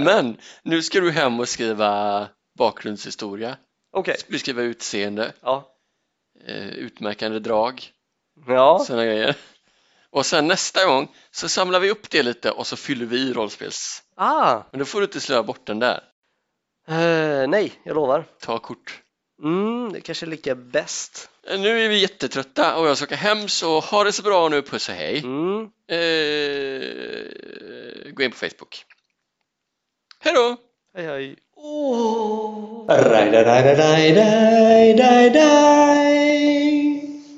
Speaker 1: Men nu ska du hem och skriva bakgrundshistoria.
Speaker 2: okej,
Speaker 1: Du ska skriva utseende.
Speaker 2: ja,
Speaker 1: Eh, utmärkande drag.
Speaker 2: Ja,
Speaker 1: Såna grejer. Och sen nästa gång så samlar vi upp det lite och så fyller vi i rollspels.
Speaker 2: ah,
Speaker 1: Men då får du inte slöa bort den där.
Speaker 2: eh, nej, jag lovar.
Speaker 1: Ta kort. Eh,
Speaker 2: Mm, det kanske är lika bäst.
Speaker 1: Nu är vi jättetrötta och jag ska åka hem så ha det så bra nu, puss och hej.
Speaker 2: Mm,
Speaker 1: Eh, gå in på Facebook. Hej då!
Speaker 2: hej hej.
Speaker 3: Raj, raj, raj, raj, raj, raj, raj.